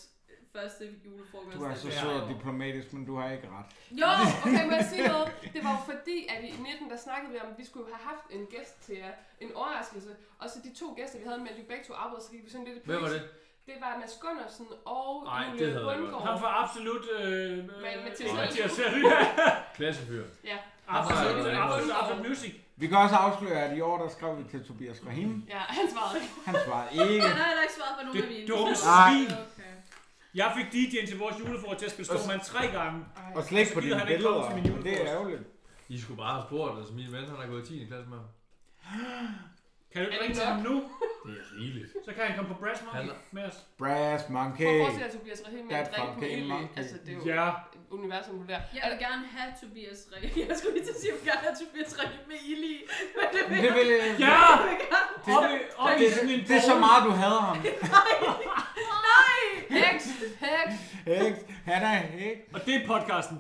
[SPEAKER 7] første julefrokost.
[SPEAKER 5] Du er så
[SPEAKER 6] Ja.
[SPEAKER 5] sød og diplomatisk, men du har ikke ret.
[SPEAKER 4] Jo, okay, må jeg sige noget? Det var jo fordi, at i 19, der snakkede vi om, at vi skulle have haft en gæst til jer. En overraskelse. Og så de to gæster, vi havde med, de begge to arbejde, så gik vi sådan lidt i
[SPEAKER 8] Hvem var
[SPEAKER 4] pris.
[SPEAKER 8] det?
[SPEAKER 4] Det var Mads Gunnarsen og
[SPEAKER 8] Ej, det
[SPEAKER 4] Julie
[SPEAKER 8] havde jeg godt.
[SPEAKER 6] Han
[SPEAKER 4] Bundgaard.
[SPEAKER 6] får absolut... Øh, øh,
[SPEAKER 4] Mathias
[SPEAKER 8] Helge.
[SPEAKER 6] Mathias Helge.
[SPEAKER 8] Klassefyr.
[SPEAKER 4] Ja.
[SPEAKER 6] Absolut,
[SPEAKER 8] Absolut.
[SPEAKER 6] absolut, absolut music.
[SPEAKER 5] Vi kan også afsløre, at i år, der skrev vi til Tobias Rahim.
[SPEAKER 4] Ja, han svarede ikke.
[SPEAKER 5] Han svarede ikke.
[SPEAKER 7] Han har heller ikke svaret på nogen
[SPEAKER 6] Det
[SPEAKER 7] af mine.
[SPEAKER 6] dumme
[SPEAKER 5] Nej.
[SPEAKER 6] svin.
[SPEAKER 7] Okay.
[SPEAKER 6] Jeg fik DJ'en til vores julefrokost til at spille Stormand tre gange.
[SPEAKER 5] Og slet ikke på
[SPEAKER 6] Så gider
[SPEAKER 5] dine
[SPEAKER 6] han ikke
[SPEAKER 5] billeder,
[SPEAKER 6] komme til min
[SPEAKER 5] og det er
[SPEAKER 6] julefrokost.
[SPEAKER 5] ærgerligt.
[SPEAKER 8] I skulle bare have spurgt, altså min ven, han har gået i 10. klasse med ham.
[SPEAKER 6] Kan du
[SPEAKER 4] Er
[SPEAKER 6] ikke
[SPEAKER 4] det
[SPEAKER 6] ringe til
[SPEAKER 4] nok?
[SPEAKER 6] ham nu?
[SPEAKER 8] Det er rigeligt.
[SPEAKER 6] Så kan han komme på Brass Monkey
[SPEAKER 8] Han-
[SPEAKER 6] med os.
[SPEAKER 5] Brass
[SPEAKER 4] Prøv at
[SPEAKER 5] Monkey.
[SPEAKER 4] forestille dig, at Tobias Rahim med
[SPEAKER 5] That
[SPEAKER 4] en drink på
[SPEAKER 5] fucking
[SPEAKER 4] Eli.
[SPEAKER 5] monkey.
[SPEAKER 4] Altså, det er jo
[SPEAKER 6] Ja.
[SPEAKER 4] universum, du der.
[SPEAKER 7] Jeg vil gerne have Tobias Ring. Jeg skulle lige til at sige, at jeg vil gerne have Tobias Ring med ild i. Men det vil
[SPEAKER 5] Det, vil,
[SPEAKER 6] Ja!
[SPEAKER 7] jeg vil gerne.
[SPEAKER 6] Op i, op i
[SPEAKER 5] det,
[SPEAKER 6] sådan en
[SPEAKER 5] det, det er så
[SPEAKER 6] borg.
[SPEAKER 5] meget, du hader ham.
[SPEAKER 7] Nej!
[SPEAKER 4] Hex, hex.
[SPEAKER 5] Heks. Han er heks.
[SPEAKER 6] Og det er podcasten.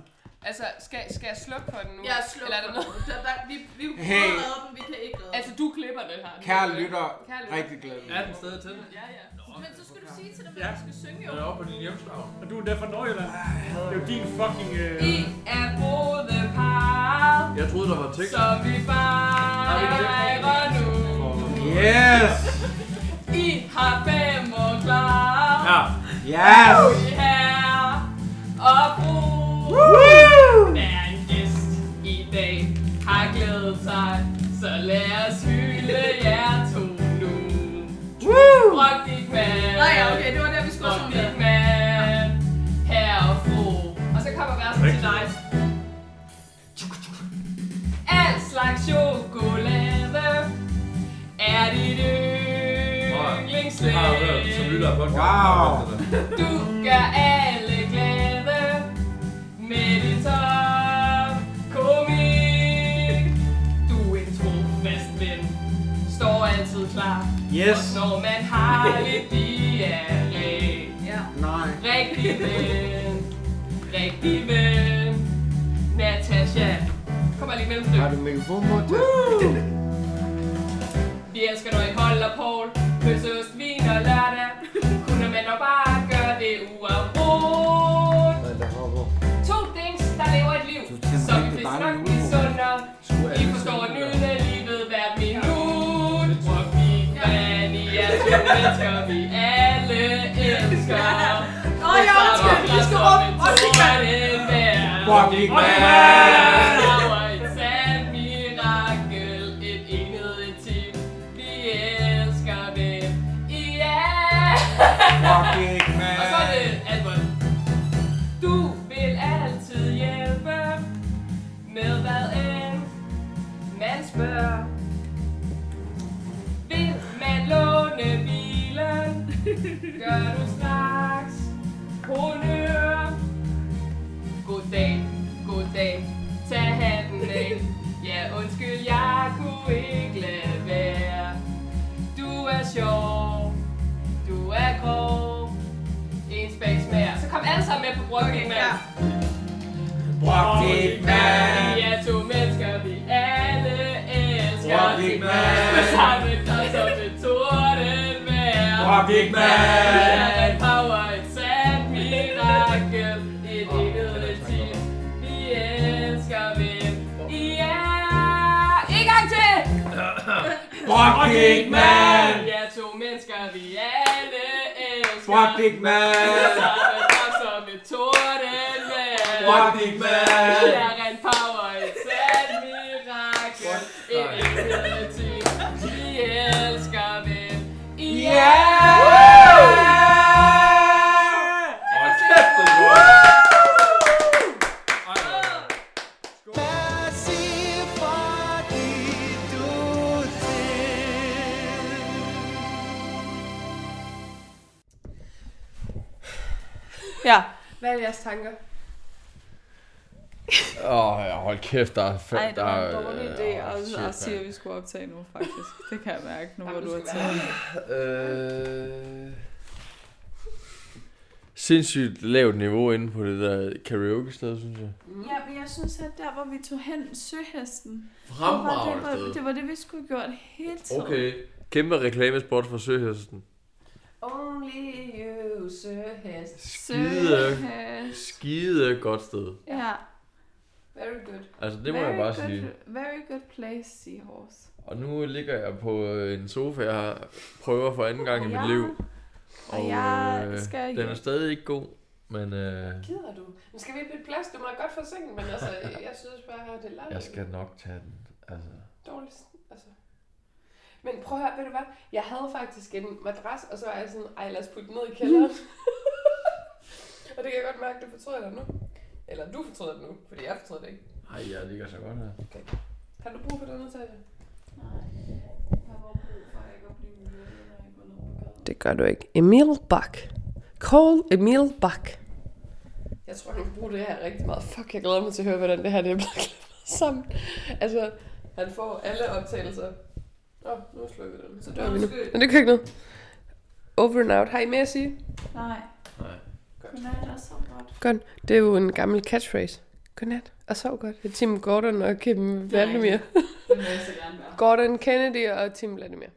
[SPEAKER 4] Altså, skal, skal jeg slukke for den nu?
[SPEAKER 7] Jeg er slukket.
[SPEAKER 4] Eller er der noget?
[SPEAKER 7] Der, der, vi, vi kunne
[SPEAKER 5] Hey.
[SPEAKER 7] hey. redde dem, vi kan ikke redde dem.
[SPEAKER 4] Altså, du klipper det her.
[SPEAKER 5] Kære lytter,
[SPEAKER 4] Kære lytter.
[SPEAKER 5] rigtig glad.
[SPEAKER 8] Er den stadig til det?
[SPEAKER 4] Ja, ja.
[SPEAKER 7] Men så skulle du sige til dem,
[SPEAKER 6] Ja.
[SPEAKER 7] at de skal synge jo.
[SPEAKER 8] Den er oppe på din hjemstavn.
[SPEAKER 6] Og du er der fra Nordjylland. Det er jo din fucking... Øh...
[SPEAKER 4] I er brune par,
[SPEAKER 8] Jeg troede, der var tekst.
[SPEAKER 4] som vi bare fejrer nu.
[SPEAKER 5] Yes!
[SPEAKER 4] I har fem år klar.
[SPEAKER 8] Ja.
[SPEAKER 5] Yes!
[SPEAKER 4] I her og brug. Hver en gæst i dag har glædet sig, så lad os hylde jer to nu. Rock dit mand.
[SPEAKER 7] Nej, ja, okay, det var der, vi skulle
[SPEAKER 4] Og
[SPEAKER 7] synge med.
[SPEAKER 4] Big Man, herre og fru. Og så kommer versen til dig. Al slags chokolade er dit
[SPEAKER 8] Det har jeg hørt som
[SPEAKER 4] yndlingslæg.
[SPEAKER 8] lytter af podcasten.
[SPEAKER 5] Wow.
[SPEAKER 4] Du gør alle glade med din top komik. Du er en trofast ven, står altid klar.
[SPEAKER 5] Yes!
[SPEAKER 4] Og når man har lidt diarré,
[SPEAKER 7] Ja.
[SPEAKER 5] Nej.
[SPEAKER 4] Rigtig ven. Rigtig ven. Natasha. Kom bare lige mellem
[SPEAKER 5] Har
[SPEAKER 4] stykke.
[SPEAKER 5] du mikrofon på?
[SPEAKER 4] Vi elsker, når I holder Paul. Pølseost, vin og lørdag. Kunne man dog bare gøre det uafbrudt.
[SPEAKER 5] Nej, der hopper.
[SPEAKER 4] To dings, der lever et liv,
[SPEAKER 5] Du tænker
[SPEAKER 4] som vi
[SPEAKER 5] rigtig
[SPEAKER 4] vist
[SPEAKER 5] dejlig
[SPEAKER 4] nok
[SPEAKER 5] julefrokost.
[SPEAKER 4] misunder. I forstår at nyde livet hvert minut. Hvor vi kan i er to mennesker, vi alle elsker.
[SPEAKER 7] Åh, oh, jeg undskyld, vi skal råbe. Åh, det kan
[SPEAKER 5] Fuck, vi
[SPEAKER 6] Åh, det
[SPEAKER 5] kan.
[SPEAKER 6] er-
[SPEAKER 5] Fucking man.
[SPEAKER 4] Vil man låne bilen, gør du straks honør. Goddag, goddag, tag hatten af. Ja, undskyld, jeg kunne ikke lade være. Du er sjov, du er grov. En space mere. Så kom alle sammen med på bryggen, mand.
[SPEAKER 7] Ja.
[SPEAKER 5] Fucking man.
[SPEAKER 4] Vi er to mennesker, vi alle elsker.
[SPEAKER 5] Fucking
[SPEAKER 4] Vi
[SPEAKER 5] man.
[SPEAKER 4] samler dig som et tordenvejr.
[SPEAKER 5] Fucking man.
[SPEAKER 4] Power power et sandt mirakel Et enede team Vi elsker hvem I er En gang til!
[SPEAKER 5] Fucking man.
[SPEAKER 4] Vi er to mennesker Vi alle elsker
[SPEAKER 5] Fucking man.
[SPEAKER 4] Sammen op som et tordenvejr
[SPEAKER 5] Fucking man.
[SPEAKER 4] Vi er en power et sandt mirakel Et enede team Vi elsker hvem I
[SPEAKER 5] Yeah!
[SPEAKER 8] Hold kæft, det er godt. Ej, hvor er det.
[SPEAKER 7] Ja.
[SPEAKER 4] Hvad er jeres tanker?
[SPEAKER 9] Åh, oh, hold kæft, der er fem,
[SPEAKER 7] Ej, det
[SPEAKER 9] der
[SPEAKER 7] var en
[SPEAKER 9] er-
[SPEAKER 7] dårlig
[SPEAKER 9] øh,
[SPEAKER 7] idé
[SPEAKER 9] åh,
[SPEAKER 7] at,
[SPEAKER 9] shit,
[SPEAKER 7] at sige, at
[SPEAKER 9] mand.
[SPEAKER 7] vi skulle optage nu, faktisk. Det kan jeg mærke, nu
[SPEAKER 4] Jamen,
[SPEAKER 7] hvor
[SPEAKER 4] du
[SPEAKER 7] du har
[SPEAKER 4] skal
[SPEAKER 7] taget
[SPEAKER 9] Øh,
[SPEAKER 8] Øh, sindssygt lavt niveau inde på det der karaoke sted, synes jeg.
[SPEAKER 7] Ja, men jeg synes, at der, hvor vi tog hen, søhesten, det var, det,
[SPEAKER 8] Fremragende
[SPEAKER 7] var,
[SPEAKER 8] sted.
[SPEAKER 7] det var det, vi skulle have gjort hele tiden.
[SPEAKER 8] Okay. Kæmpe reklamespot for Søhesten.
[SPEAKER 7] Only you, søhest.
[SPEAKER 8] Skide.
[SPEAKER 7] Søhest.
[SPEAKER 8] Skide godt sted.
[SPEAKER 7] Ja.
[SPEAKER 10] Very good.
[SPEAKER 8] Altså, det må
[SPEAKER 7] very
[SPEAKER 8] jeg bare
[SPEAKER 7] good,
[SPEAKER 8] sige.
[SPEAKER 7] Very good place, Seahorse.
[SPEAKER 8] Og nu ligger jeg på øh, en sofa, jeg har- prøver for anden gang i
[SPEAKER 7] Ja.
[SPEAKER 8] mit liv. øh,
[SPEAKER 7] Og jeg skal
[SPEAKER 8] den er
[SPEAKER 7] hjem.
[SPEAKER 8] stadig ikke god, men øh,
[SPEAKER 4] Gider du? Men skal vi bytte plads? Du må da godt få sengen, men altså, jeg synes bare, det er langt.
[SPEAKER 8] jeg skal nok tage den. Altså.
[SPEAKER 4] dårligt. Altså. Men prøv at høre, ved du hvad? Jeg havde faktisk en madras, og så var jeg sådan, ej lad os putte den ned i kælderen. og det kan jeg godt mærke, det fortryder jeg nu. Eller du fortryder det nu, fordi jeg fortryder det ikke.
[SPEAKER 8] Ej, jeg ligger så godt her.
[SPEAKER 4] Har du brug for den udtalelse?
[SPEAKER 11] Det gør du ikke. Emil Bak. Call Emil Bak.
[SPEAKER 4] Jeg tror, du kan bruge det her rigtig meget. Fuck, jeg glæder mig til at høre, hvordan det her det er blevet klippet sammen. Altså, han får alle optagelser. Åh, oh, nu slukker vi den. Så dør vi nu. Men det kan ikke noget. Over and out. Har I mere at sige?
[SPEAKER 7] Nej.
[SPEAKER 8] Nej.
[SPEAKER 7] Godnat og så godt.
[SPEAKER 11] Godt. Det er jo en gammel catchphrase. Godnat. Og sov godt. Det er Tim Gordon og Kim Vladimir.
[SPEAKER 12] Den vil jeg så gerne være.
[SPEAKER 11] Gordon Kennedy og Tim Vladimir.